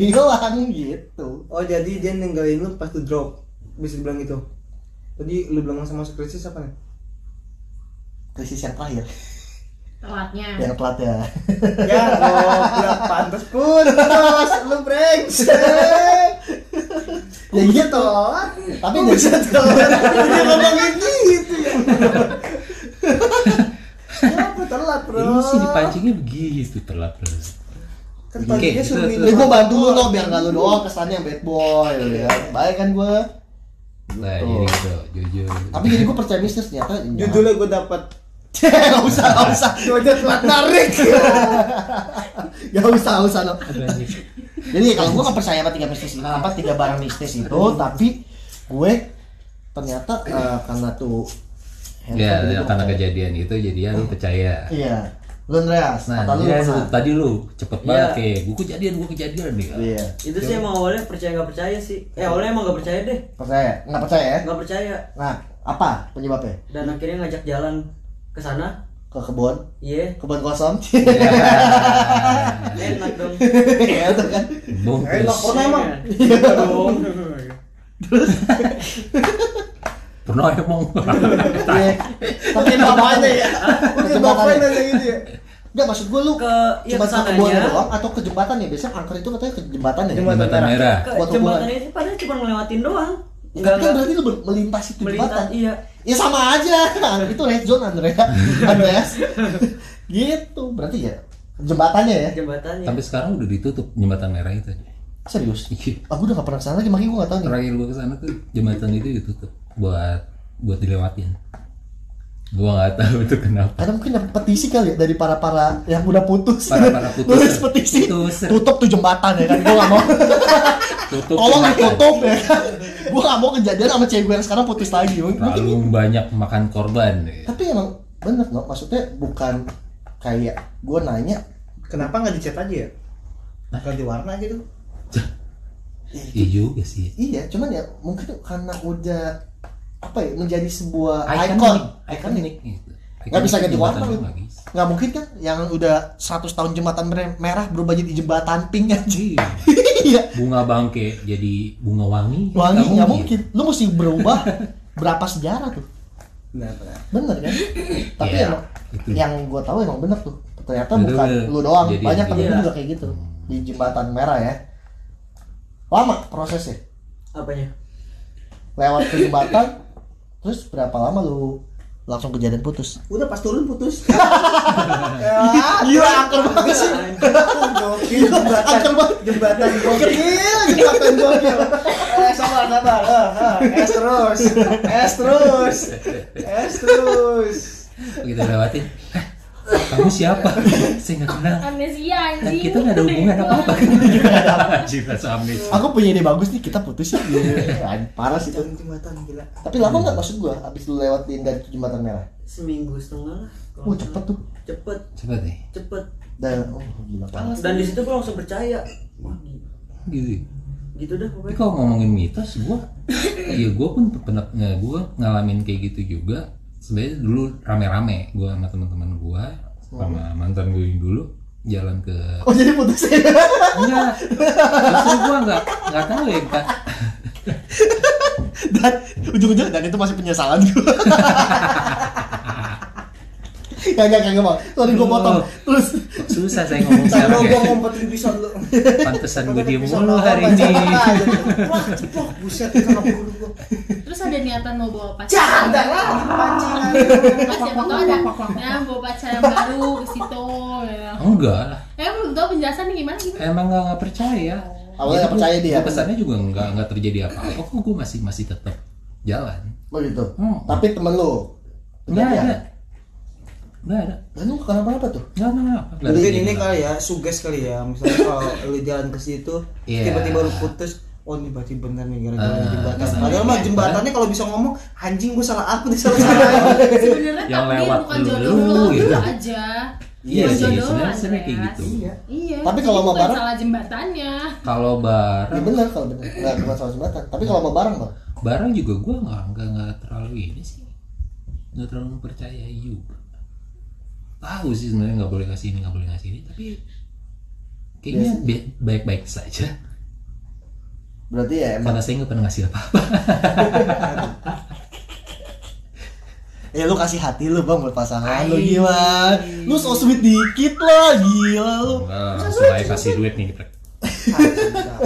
S1: hilang gitu
S3: Oh, jadi dia ninggalin lu pas lu drop. Bisa dibilang gitu. Tadi lu bilang masa-masa krisis apa nih?
S1: krisis yang terakhir
S5: telatnya
S1: yang telat ya
S3: Ya, goblok pantas pun. Terus lu brengsek.
S1: ya gitu
S3: Tolak.
S1: tapi bisa
S3: Dia ngomongin gitu ya. Kenapa telat, Bro?
S2: Lu sih dipancingnya begitu telat lu.
S3: Kan paginya
S2: Oke,
S3: suruh
S2: gitu.
S1: Ini
S3: minum.
S1: gue bantu lu noh biar gak lu doang kesannya yang bad boy gitu ya. Baik kan gue.
S2: Nah,
S1: Gitu.
S2: jadi gitu, jujur.
S1: Tapi jadi gue percaya bisnis ternyata.
S3: Judulnya gue dapat.
S1: Gak usah, gak usah.
S3: Gue telat narik.
S1: Gak usah, gak usah noh.
S2: Aduh, anjing.
S1: Jadi kalau gue nggak percaya apa tiga mistis itu, apa tiga barang mistis itu, tapi gue ternyata eh, karena tuh
S2: Ya,
S1: handphone itu gua
S2: karena
S1: percaya.
S2: kejadian itu jadinya lu percaya.
S1: Iya. Lu Andreas,
S2: Nah,
S1: kata lu
S2: dia
S1: pernah.
S2: lu- tadi lu cepet
S4: Iya.
S2: banget kayak gue kejadian, gue kejadian nih.
S1: Iya.
S4: itu sih emang awalnya percaya nggak percaya sih eh awalnya emang nggak percaya deh
S1: Percaya? Nggak percaya ya?
S4: nggak percaya
S1: Nah, apa penyebabnya?
S4: dan
S3: Hmm.
S4: akhirnya ngajak jalan ke sana
S1: Ke kebun?
S4: iya
S1: Kebun kosong?
S3: Nah.
S4: enak dong
S1: Iya, itu kan.
S2: Bung,
S3: Enak
S2: terus
S3: pernah emang.
S4: Iya dong
S2: pernah ya, emang.
S1: Iya. Tapi
S3: Makin bapaknya ya. Makin bapaknya nanya gitu ya.
S1: Enggak maksud gue lu
S4: Ke- iya,
S1: cuma
S4: ke
S1: ke
S4: sananya.
S1: kebun doang atau ke jembatan ya? Biasanya angker itu katanya ke jembatan ya.
S3: Jembatan.
S2: Jembatan merah.
S4: ke
S1: Buat
S4: jembatan
S1: hubungan.
S4: itu padahal cuma ngelewatin doang
S1: Enggak,
S4: nggak
S1: kan
S4: nggak
S1: berarti lu ber- melintas itu
S4: melintas
S1: jembatan.
S4: iya
S1: Ya sama aja. itu red zone Andrea. Andreas. gitu. Berarti ya jembatannya ya.
S4: jembatannya
S2: Sampai sekarang udah ditutup jembatan merah itu.
S1: Serius.
S2: Iya.
S1: Aku udah gak pernah kesana lagi, makanya gue gak tau nih.
S2: Terakhir gue kesana tuh jembatan itu ditutup buat buat dilewatin. Gue nggak tahu itu kenapa.
S1: Karena mungkin dapat petisi kali ya dari para para yang udah putus.
S2: Para-para putus.
S1: Nulis petisi.
S2: Putus.
S1: Tutup tuh jembatan ya kan. Gue gak mau.
S2: Tutup.
S1: Tolong
S2: jembatan.
S1: ditutup ya kan. Gue gak mau kejadian sama cewek gue yang sekarang putus lagi. Mungkin
S2: Terlalu banyak makan korban. ya.
S1: tapi emang bener no maksudnya bukan kayak gue nanya
S3: Kenapa nggak dicat aja ya? Ganti warna gitu.
S2: Iya juga sih.
S1: iya cuman ya mungkin karena udah apa ya menjadi sebuah
S2: Iconic.
S1: ikon
S2: Iconic gitu.
S1: Iya. nggak bisa ganti
S2: Jembatan
S1: warna lu
S2: doang lagi.
S1: nggak mungkin kan yang udah 100 tahun jembatan mer- merah berubah jadi jembatan pink aja
S2: Iya.
S1: iya
S2: bunga bangke jadi bunga wangi gitu.
S1: wangi nggak mungkin lu mesti berubah berapa sejarah tuh
S3: Benar, benar.
S1: bener kan tapi
S2: Iya,
S1: emang
S2: itu.
S1: yang gue tahu emang bener tuh ternyata
S2: Bener,
S1: bukan
S2: bener.
S1: lu doang
S2: Jadi,
S1: banyak temen
S4: iya.
S1: juga kayak gitu di jembatan merah ya lama prosesnya
S4: apanya
S1: lewat ke jembatan terus berapa lama lu langsung kejadian putus
S3: Udah pas turun putus. ya,
S1: gila angker banget sih
S3: gokil jembatan.
S1: Angker banget.
S3: Jembatan gokil.
S1: gila jembatan gokil
S3: Eh, sabar, sabar. Eh, eh, Es terus. Es terus. Es terus.
S2: kita lewatin "Hah, kamu siapa saya nggak kenal
S5: amnesia
S2: Nah,
S5: anjing
S2: kita nggak ada hubungan apa apa
S1: Iya.
S2: cinta sama
S1: aku punya ide bagus nih kita putus ya Iya, parah sih itu
S3: Jangan jembatan gila.
S1: tapi lama nggak maksud gua abis lu lewatin dari jembatan merah
S4: seminggu setengah lah
S3: Oh,
S4: kalau
S1: Wah,
S4: nggak
S1: cepet
S4: salah.
S1: tuh.
S4: cepet
S2: coba deh
S4: cepet
S1: dan oh gila parah
S4: dan di situ gue langsung percaya Wah, gi-
S2: gitu
S4: gitu dah
S2: tapi
S4: pokoknya
S2: kalau ngomongin mitos gua ya gua pun pernah nggak gua ngalamin kayak gitu juga sebenarnya dulu rame-rame gua sama teman-teman gua sama mantan gue yang dulu jalan ke
S1: oh jadi putus ya
S2: enggak Iya. justru gua nggak nggak tahu ya Kak.
S1: dan ujung-ujung dan itu masih penyesalan gua Gak, gak, gak, gak, Bang. Sorry, gua potong. Terus,
S2: Kok susah saya ngomong
S3: Kalau
S2: sekarang
S3: Oh. gua
S2: ya
S3: ngumpetin pisau lu.
S2: pantesan gue diem
S3: Pisau
S2: mulu
S3: lu
S2: hari
S3: apa,
S2: ini
S3: Wah, ceplok, buset sama guru gua.
S5: terus ada niatan mau bawa pacar
S3: Cada lah, pancingan.
S5: Terus siapa tahu ada nah, bawa pacar yang baru ke situ ya.
S2: Oh, enggak lah
S5: Eh belum tahu penjelasan gimana gitu.
S2: emang nggak nggak percaya
S1: Awalnya nggak percaya dia.
S2: Gua pesannya juga nggak nggak terjadi apa-apa kok gue masih masih tetap jalan
S1: oh gitu.
S2: Hmm.
S1: Tapi temen lu,
S2: nggak
S1: kejadian.
S2: ada nggak ada
S1: Dan lu kenapa-napa tuh?
S2: nggak ada nggak ada.
S3: Mungkin ini
S2: Nggak ada.
S3: kali ya, suges kali ya. Misalnya kalau lu jalan ke situ,
S2: Iya.
S3: tiba-tiba lu putus, oh ini berarti bener nih gara-gara
S2: Ah,
S3: jembatan.
S2: sama
S3: Padahal mah
S2: ya.
S3: jembatannya kalau bisa ngomong, anjing gua salah aku di salah salah.
S5: Sebenarnya
S2: Yang
S5: takdir
S2: lewat
S5: bukan
S2: dulu,
S5: jodoh lu,
S2: gitu.
S5: gitu aja.
S2: iya
S5: Bukan
S2: sih
S5: jodoh,
S2: sebenarnya
S5: Andreas.
S2: sebenarnya kayak gitu
S5: Iya.
S1: Tapi kalau
S5: jadi
S1: mau
S5: bukan
S1: bareng-
S5: salah jembatannya.
S2: kalau
S1: Ya
S2: barang
S1: bener kalau bener. Nggak bukan soal jembatan. Tapi kalau mau bareng bang.
S2: barang juga gue nggak nggak nggak terlalu ini sih nggak terlalu percaya juga tahu sih sebenarnya nggak boleh ngasih ini nggak boleh ngasih ini tapi kayaknya ba- baik-baik saja
S1: Berarti ya emang.
S2: karena saya nggak pernah ngasih apa-apa
S1: Ya lu kasih hati lu bang buat pasangan lu gimana? Lu so sweet dikit lah, gila lu.
S4: Oh,
S2: langsung aja kasih duit nih kita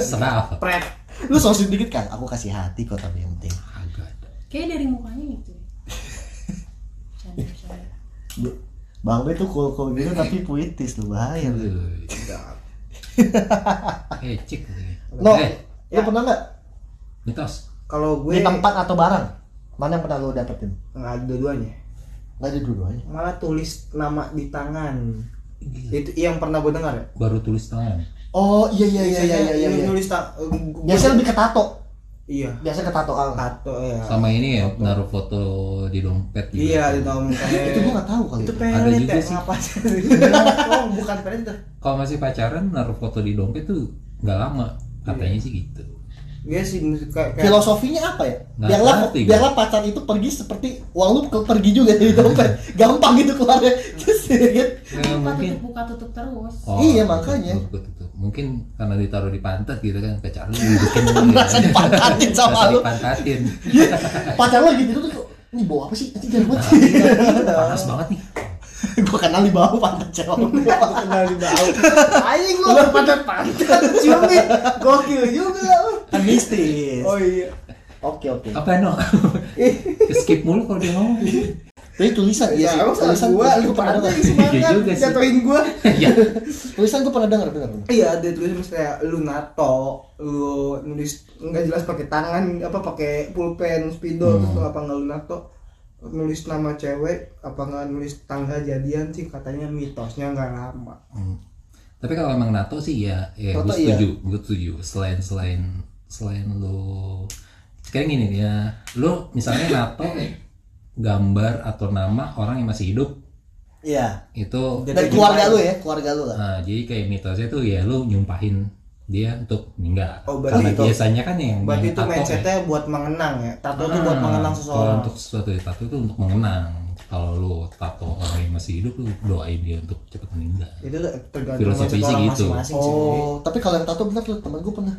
S2: serah apa
S3: Pret.
S1: Lu so sweet dikit kan? Aku kasih hati kok tapi yang penting.
S2: agak ada
S5: Kayak dari mukanya gitu. Bercanda, bercanda.
S1: Bu- Iya. Bang B tuh cool cool gitu tapi puitis lu bahaya. lu.
S2: eh cek nih.
S1: No,
S2: eh
S4: Ya.
S1: lu pernah nggak
S2: mitos
S3: Kalau
S1: di
S3: gue
S1: tempat atau barang? Mana yang pernah lu dapetin?
S3: nggak ada dua-duanya.
S1: Nggak ada dua-duanya.
S3: Malah tulis nama di tangan. Itu yang pernah gue dengar ya?
S2: baru tulis tangan
S1: Oh iya iya iya iya iya iya. iya.
S4: Biasanya nulis tak eh, gua-
S1: Biasanya lebih ke tato.
S4: iya
S1: Biasanya ke tato ah.
S4: tato ya
S2: sama ini ya naruh foto di dompet gitu. juga.
S4: iya di tahun
S1: Itu gua nggak tahu kali.
S4: itu
S1: ya.
S2: Ada
S4: pelit
S2: juga
S4: ya
S2: sih.
S4: ngapa sih
S3: oh bukan friend tuh
S2: kalau masih pacaran naruh foto di dompet tuh nggak lama katanya sih gitu
S4: Iya sih musik- kayak kayak-
S1: Filosofinya apa ya?
S2: Nggak
S1: biarlah
S2: ngerti gua.
S1: biarlah pacar itu pergi seperti uang lu ke- pergi juga dari dompet. Gampang gitu keluarnya. Terus gitu.
S2: Eh,
S5: buka
S2: mungkin Oh,
S5: tutup buka tutup terus
S1: Iya,
S2: tutup,
S1: makanya.
S2: tutup, tutup. mungkin karena ditaruh di pantat gitu kan pacaran dibikin
S1: Merasa dipantatin sama
S2: Merasa
S1: lu.
S2: dipantatin
S1: pacar lo gitu tuh ini bawa apa sih? Ini jangan
S2: Nah,
S1: buat.
S2: iya. panas banget nih
S1: Gua kenal di bawah pantat cewek.
S3: aku kenal di bawah
S4: Aing lu pada pantat ciumin Gokil juga lu
S1: Kan mistis.
S3: oh iya
S1: Oke oke.
S2: apa no skip mulu kalau dia ngomong
S1: Tapi tulisan iya
S3: ya
S1: sih.
S3: emang salah
S1: Tulisan
S3: gua
S1: tulisan
S3: lu
S1: gua pernah
S3: pantai
S1: dengar.
S2: Iya
S3: semangat
S2: juga sih.
S3: jatuhin gua
S2: ya
S1: Tulisan gua pernah dengar dengar. dengar.
S3: iya dia tulis terus kayak lu nato lu nulis nggak jelas pakai tangan apa pakai pulpen
S2: Hmm.
S3: spidol terus lu apa nggak lu nato nulis nama cewek apa nggak nulis tanggal jadian sih katanya mitosnya nggak lama
S2: Hmm. tapi kalau emang NATO sih ya ya gue
S1: NATO iya.
S2: setuju gue setuju selain selain selain lo kayak gini nih ya lo misalnya NATO gambar atau nama orang yang masih hidup
S1: Iya.
S2: itu
S1: Dan keluarga lu ya, keluarga lu lah.
S2: Nah, jadi kayak mitosnya tuh ya lu nyumpahin dia untuk meninggal.
S3: Oh, berarti
S2: Karena
S3: itu-
S2: biasanya kan yang yang
S3: berarti itu
S2: tato
S3: mindsetnya buat mengenang ya tato
S2: ya.
S3: tuh buat
S2: Ah,
S3: mengenang
S2: Kalau
S3: seseorang
S2: untuk sesuatu di tato itu untuk mengenang. Kalau lu tato orang yang masih hidup lu doain dia untuk cepat meninggal.
S3: itu tuh tergantung
S2: Filosofi
S3: mindset
S2: sih
S3: orang
S2: gitu.
S3: masing-masing sih
S1: Oh, tapi kalau yang tato bener tuh temen gue pernah.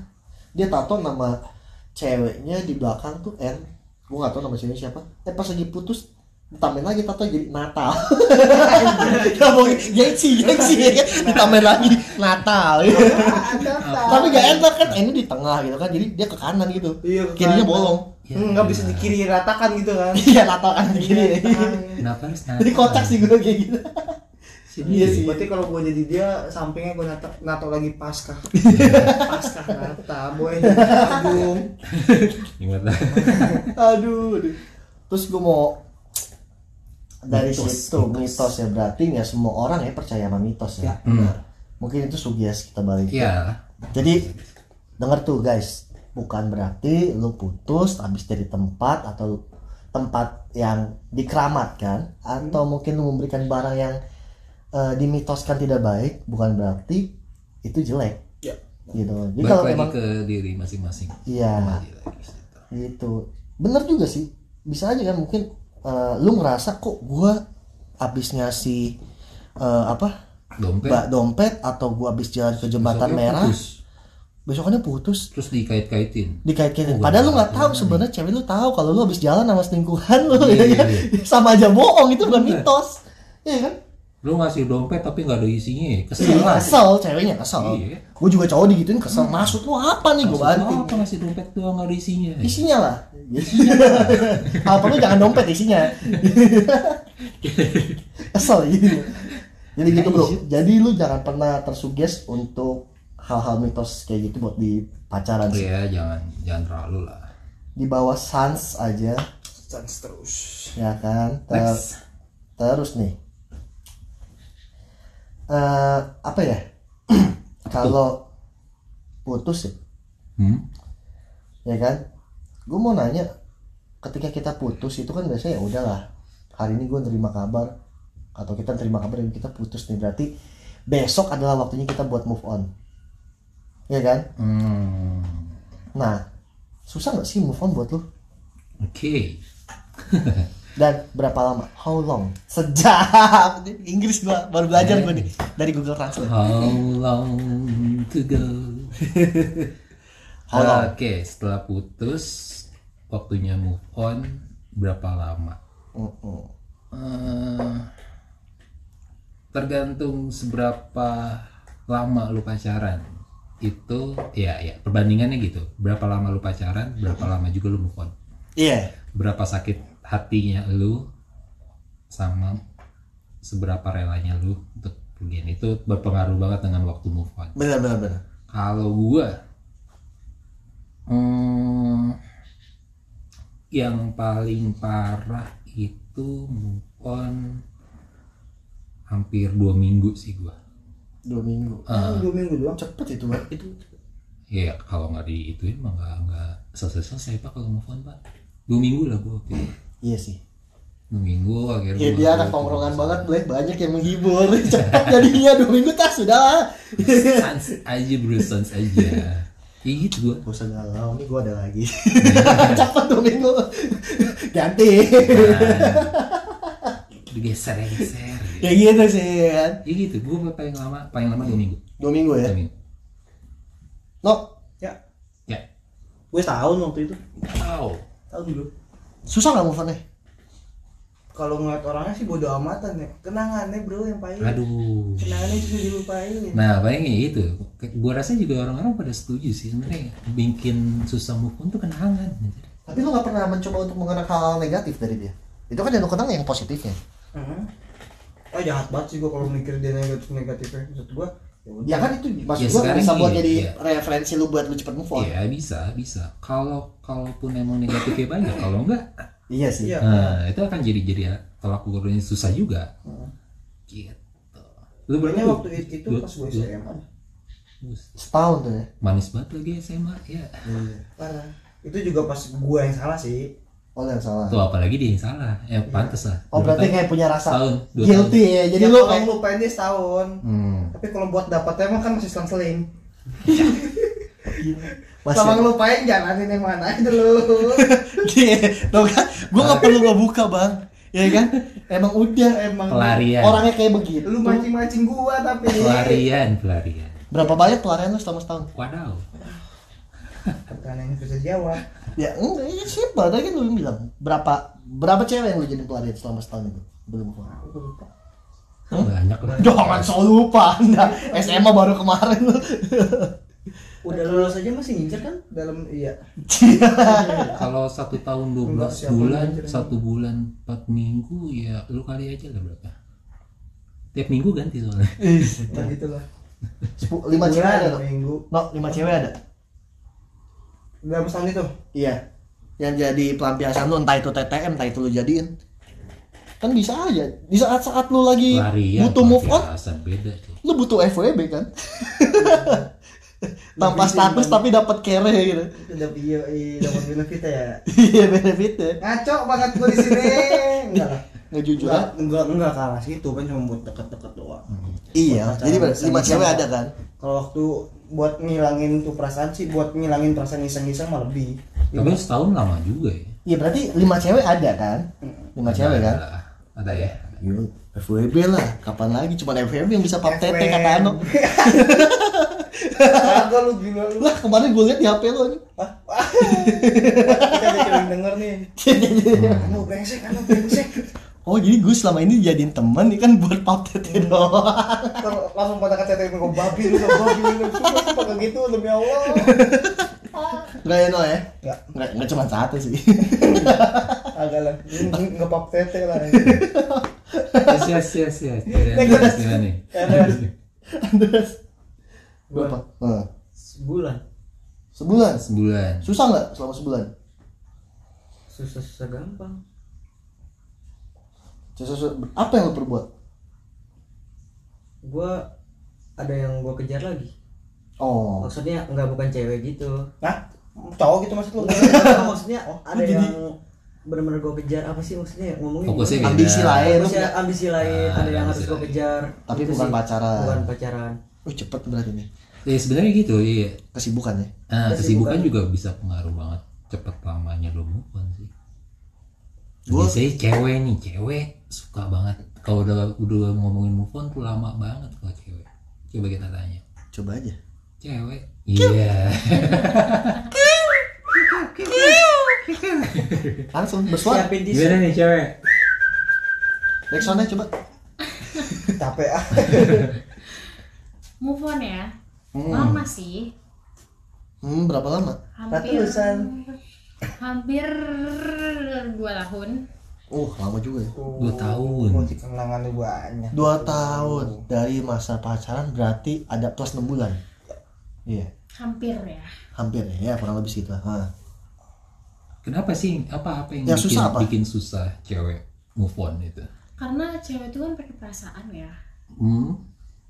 S1: Dia tato nama ceweknya di belakang tuh N. Gue gak tau nama ceweknya siapa. Eh pas lagi putus ditambahin lagi tato jadi Natal. Gak mau gengsi, gengsi ya kan. Ditambahin lagi Natal. Tapi gak enak kan ini di tengah gitu kan. Jadi dia ke kanan gitu.
S3: Iya, ke
S1: Kirinya
S3: kanan.
S1: bolong.
S2: Ya,
S3: Hmm, nggak bisa dikiri ratakan gitu kan
S1: Iya, Natal kan kiri.
S2: Kenapa harus nato?
S1: Jadi kocak sih gue kayak gitu.
S3: Iya sih.
S1: Iya.
S3: Berarti kalau gue jadi dia sampingnya gue nato, nato lagi pasca. pasca nata, boy. Agung.
S2: Gimana?
S1: aduh, aduh. terus gue mau dari
S2: Mitos,
S1: situ mitos. ya berarti nggak semua orang ya percaya sama mitos ya,
S2: Hmm.
S1: mungkin itu sugias kita balik
S2: Iya.
S1: jadi denger tuh guys bukan berarti lu putus habis dari tempat atau tempat yang dikeramatkan atau mungkin lu memberikan barang yang eh, dimitoskan tidak baik bukan berarti itu jelek
S3: Ya.
S1: gitu jadi
S2: Balik
S1: kalau
S2: lagi
S1: memang
S2: ke diri masing-masing.
S1: iya
S2: Kembali lagi ke situ.
S1: gitu bener juga sih bisa aja kan mungkin eh, lu ngerasa kok gua abis ngasih eh, apa
S2: Dompet.
S1: bak dompet atau gua abis jalan ke jembatan
S2: besoknya
S1: merah
S2: putus.
S1: besokannya putus
S2: Terus dikait-kaitin.
S1: dikait-kaitin
S2: Oh,
S1: padahal lu
S2: iya,
S1: nggak tahu
S2: iya.
S1: sebenarnya cewek lu tahu kalau lu abis jalan sama selingkuhan lu
S2: Iya,
S1: ya
S2: iya,
S1: kan? sama aja bohong itu bukan
S2: Bener.
S1: mitos iya kan
S2: Lu ngasih dompet tapi nggak ada isinya, ya? kesel
S1: Iya,
S2: lah.
S1: kesel ceweknya kesel
S2: Iya. Hmm.
S1: gua juga cowok digituin kesel maksud lu apa nih
S2: Maksud
S1: gua
S2: lu
S1: banting
S2: apa ngasih dompet doang nggak ada isinya?
S1: isinya lah kalau perlu jangan dompet isinya kesel gitu jadi gitu bro jadi lu jangan pernah tersuges untuk hal-hal mitos kayak gitu buat di pacaran sih
S2: Iya, jangan jangan terlalu lah.
S1: di bawah sans aja
S3: Sans terus.
S1: ya kan
S2: Eh,
S1: Ter-
S2: Next.
S1: terus nih Eh, apa ya kalau putus ya
S2: Hmm?
S1: ya kan gue mau nanya ketika kita putus itu kan biasanya ya udahlah hari ini gue nerima kabar atau kita terima kabar dan kita putus nih berarti besok adalah waktunya kita buat move on ya kan
S2: Hmm.
S1: nah susah nggak sih move on buat lu
S2: Oke.
S1: dan berapa lama how long sejam Ini Inggris gua baru belajar gue nih dari Google Translate
S2: How long to go?
S1: How long?
S2: Oke, setelah putus waktunya move on berapa lama?
S1: Mm-mm.
S2: Eh, tergantung seberapa lama lu pacaran itu ya ya perbandingannya gitu berapa lama lu pacaran berapa lama juga lu move on
S1: iya
S2: berapa sakit hatinya lu sama seberapa relanya lu untuk pergian itu berpengaruh banget dengan waktu move on
S1: benar benar benar
S2: kalau gua hmm, yang paling parah itu move on hampir dua minggu sih gua
S1: dua minggu
S2: Ah.
S3: dua minggu doang
S1: cepet itu Pak.
S4: itu
S2: ya kalau nggak diituin mah nggak nggak selesai selesai pak kalau mau phone pak dua minggu lah gua waktu itu.
S1: iya sih
S2: dua minggu akhirnya
S1: ya
S2: gua-
S1: dia anak
S2: gua-
S1: tongkrongan banget boleh banyak yang menghibur cepet jadinya dua minggu tas sudah lah
S2: sans aja bro sans aja ya gitu gua
S1: gak usah galau nih gue ada lagi cepet dua minggu ganti
S2: Nah, digeser ya geser
S1: ya gitu sih kan
S2: ya gitu gua paling lama paling lama dua minggu
S1: dua minggu ya
S2: dua minggu
S1: no
S3: ya
S2: ya
S4: gue setahun waktu itu
S2: wow
S3: tahun dulu
S1: susah nggak move on nya
S3: kalau ngeliat orangnya sih bodo amatan ya kenangannya bro yang paling
S2: aduh
S3: kenangannya itu dilupain
S2: Nah, palingnya itu. Gua rasa juga orang-orang pada setuju sih sebenarnya bikin susah move on tuh kenangan. anjir.
S1: tapi lu nggak pernah mencoba untuk mengenang hal-hal negatif dari dia itu kan yang lu kenang yang positifnya
S3: Heeh. oh jahat banget sih gua kalau mikir dia negatif negatifnya maksud gua ya udah.
S1: ya kan itu maksud
S2: Ya,
S1: gua
S2: sekarang
S1: bisa buat
S2: iya,
S1: jadi
S2: iya.
S1: referensi lu buat lu cepet move on
S2: Iya, bisa, bisa. Kalau kalaupun emang negatifnya banyak, kalau enggak,
S1: iya sih
S3: iya
S2: nah, itu akan jadi jadi tolak ukurnya susah juga. Gitu. Lu
S3: sebenarnya
S2: tuh?
S3: waktu itu, itu
S2: Dua-
S3: pas gua
S2: dua-
S3: SMA
S2: Bus.
S1: setahun tuh ya
S2: Manis banget lagi SMA ya.
S3: parah itu juga pas gua yang salah sih
S1: oh yang salah
S2: Tuh apalagi dia yang salah. Eh pantas lah.
S1: oh
S2: Dua
S1: berarti
S2: tahun.
S1: kayak punya rasa
S2: tahun, dua
S1: guilty ya jadi
S3: ya,
S1: lu
S3: kalau
S1: kayak
S3: ngelupain dia setahun
S2: Hmm.
S3: tapi kalau buat dapatnya emang kan masih selang-seling
S1: masih
S3: sama ngelupain jalanin yang mana itu lu
S1: Tuh kan gua nggak perlu gua buka bang ya kan emang udah
S3: emang
S2: Pelarian.
S1: orangnya kayak begitu
S3: lu mancing-mancing gua tapi
S2: Pelarian, pelarian.
S1: berapa banyak pelarian lu selama setahun
S2: Wadaw.
S3: pertanyaan yang bisa jawab
S1: ya enggak ya simpel tadi kan lu bilang berapa berapa cewek yang lu jadi pelarian selama setahun itu belum move on
S3: aku lupa
S2: Banyak lah.
S1: Jangan so lupa anda SMA baru kemarin lu
S4: udah lulus aja masih ngincer kan
S3: dalam iya
S2: kalau satu tahun 12
S3: Enggak, siapa
S2: bulan
S3: yang mikirin
S2: satu bulan empat minggu ya lu kali aja lah berapa tiap minggu ganti soalnya
S3: nah, gitulah
S1: Sepu- lima cewek
S3: Bulan,
S1: ada no?
S3: minggu
S1: no lima cewek ada
S3: dalam setahun itu
S1: iya yang jadi pelampiasan lu entah itu TTM entah itu lu jadiin kan bisa aja di saat saat lu lagi
S2: lari ya
S1: butuh move on
S2: asal beda tuh
S1: lu butuh FWB kan tanpa status tapi dapat care gitu
S3: udah iya iya dapat benefit ya
S1: iya benefitnya
S3: ngaco banget gua di sini enggak lah
S1: nggak jujur
S3: enggak
S1: kan?
S3: enggak enggak kalah sih itu kan cuma buat deket-deket doang
S1: iya
S3: Pacaran
S1: jadi ber-
S3: bisa
S1: lima
S3: bisa.
S1: cewek ada kan
S3: kalau waktu buat ngilangin tuh perasaan sih buat ngilangin perasaan iseng-iseng malah lebih
S2: tapi setahun lama juga ya
S1: iya berarti lima cewek ada kan lima cewek kan
S2: ada, ada ya
S1: Yo, FWB lah, kapan lagi? Cuma FWB yang bisa pap tete
S3: FWB.
S1: kata Ano.
S3: kagak lu gila lu
S1: Lah kemarin gue liat di HP lo nih.
S3: Hah? kita ada cewek yang denger nih kamu brengsek kamu brengsek
S1: Oh jadi gue selama ini jadiin temen nih kan buat pap tete doang.
S3: Terus langsung pada kata itu kok babi lu kok babi lu sumpah sumpah kayak gitu demi Allah
S1: Gak ya no ya?
S3: Nggak.
S1: Nggak, nggak cuma satu sih.
S3: agak lah nggak pap tete lah
S2: yes yes yes yes Dari Andreas gimana nih
S1: Andres. Berapa? Nah,
S4: sebulan
S1: sebulan.
S2: sebulan
S1: Susah nggak selama sebulan?
S4: susah susah gampang
S1: Susah, susah. Apa yang lo perbuat?
S4: gue ada yang gue kejar lagi
S1: Oh,
S4: maksudnya nggak bukan cewek gitu
S3: nah cowok gitu maksud lu
S4: Oh, Enggak, Oh, maksudnya ada
S1: jadi-
S4: yang benar-benar gue kejar apa sih maksudnya ngomongnya
S2: Fokusnya
S4: gimana?
S1: ambisi
S2: beda.
S1: lain.
S4: Terus ya ambisi lain,
S2: Ah,
S4: ada yang
S2: ambisi
S4: harus gue
S2: lain.
S4: kejar.
S1: Tapi
S4: Gitu
S1: bukan
S4: sih.
S1: pacaran.
S4: Bukan pacaran.
S1: Oh cepet berarti nih.
S2: ya sebenarnya gitu iya
S1: Kesibukan ya?
S2: nah,
S4: Kesibukan.
S2: kesibukan juga bisa pengaruh banget cepet lamanya lu move on sih
S1: Gua-
S2: biasanya cewek nih cewek suka banget kalau udah udah ngomongin move on tuh lama banget kalau cewek coba kita tanya
S1: Coba aja.
S2: cewek iya
S1: Langsung bersuara.
S4: Siapin tisu.
S2: nih cewek
S1: Next one coba.
S3: capek ah
S5: move on ya lama sih
S1: Hmm, berapa lama?
S5: hampir
S3: Ratusan.
S5: hampir dua tahun
S1: Uh, lama juga ya.
S2: dua tahun
S3: Gua kenangan lu banyak
S1: Dua tahun dari masa pacaran berarti ada plus enam bulan. Iya,
S5: hampir ya
S1: hampir ya, ya kurang lebih segitu. Hah.
S2: kenapa sih apa apa yang,
S1: Yang
S2: bikin,
S1: susah apa?
S2: bikin susah cewek move on itu
S5: karena cewek itu kan pakai perasaan ya
S2: hmm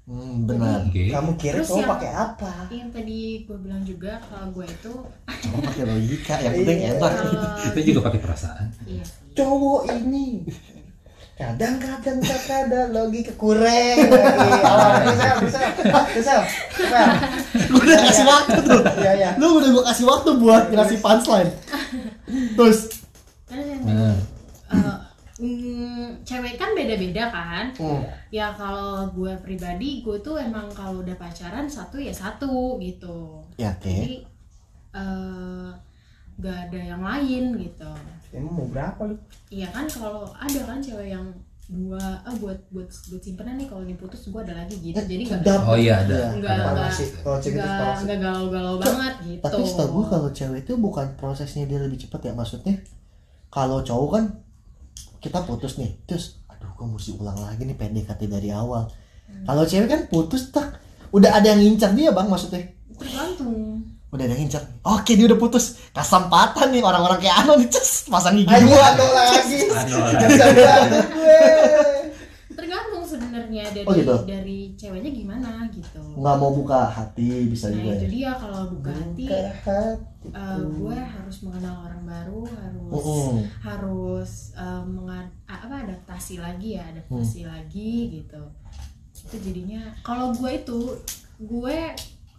S1: Hmm, benar.
S2: Oke.
S1: Kamu kira
S5: Terus
S1: kamu
S5: yang-
S1: pakai apa?
S5: yang tadi gue bilang juga kalau gue itu
S1: Kamu pakai logika, yang penting
S3: Iya.
S1: enak.
S5: kalau
S2: Kita juga pakai perasaan.
S5: iya sih.
S1: Cowok ini kadang-kadang tak ada logika kurang. Awalnya
S3: Kesel, kesel, kesel, kesel.
S1: gue udah kasih waktu tuh.
S3: Iya, iya.
S1: Lu udah gue kasih waktu buat ngasih punchline. Terus,
S5: terus yang
S2: Nah,
S5: eh, mm, cewek kan beda-beda kan ya kalau gue pribadi gue tuh emang kalau udah pacaran satu ya satu gitu
S1: ya teh.
S5: jadi eh, gak ada yang lain gitu
S3: Emang mau berapa lu?
S5: iya kan kalau ada kan cewek yang dua ah buat buat buat simpenan nih kalau diputus gue ada lagi gitu jadi nggak
S1: Sedap.
S2: oh iya ada.
S5: Enggak,
S2: ada.
S5: enggak.
S3: Parasit, kalau cewek itu
S5: nggak
S3: parasit.
S5: nggak galau-galau banget gitu
S1: Tapi setahu gue kalau cewek itu bukan prosesnya dia lebih cepat ya maksudnya. Kalau cowok kan kita putus nih, terus aduh gue mesti ulang lagi nih PDKT dari awal. Kalau cewek kan putus tak udah ada yang ngincar dia bang maksudnya.
S5: tergantung
S1: Udah ada yang ngincer. Oke dia udah putus. Kasampatan nih orang-orang kayak Ano nih cus pasang gigi
S3: Ayo
S1: dua.
S3: ada lagi.
S2: Ada orang.
S3: Kesel banget gue.
S5: tergantung sebenarnya dari
S1: Oh, gitu?
S5: dari ceweknya gimana gitu
S1: Nggak mau buka hati bisa
S5: nah
S1: juga
S5: itu
S1: ya.
S5: dia kalau buka hati
S3: Buka hati.
S5: eh, gue harus mengenal orang baru harus
S1: Mm-mm.
S5: harus eh, menga- a- apa adaptasi lagi ya adaptasi lagi gitu itu jadinya kalau gue itu gue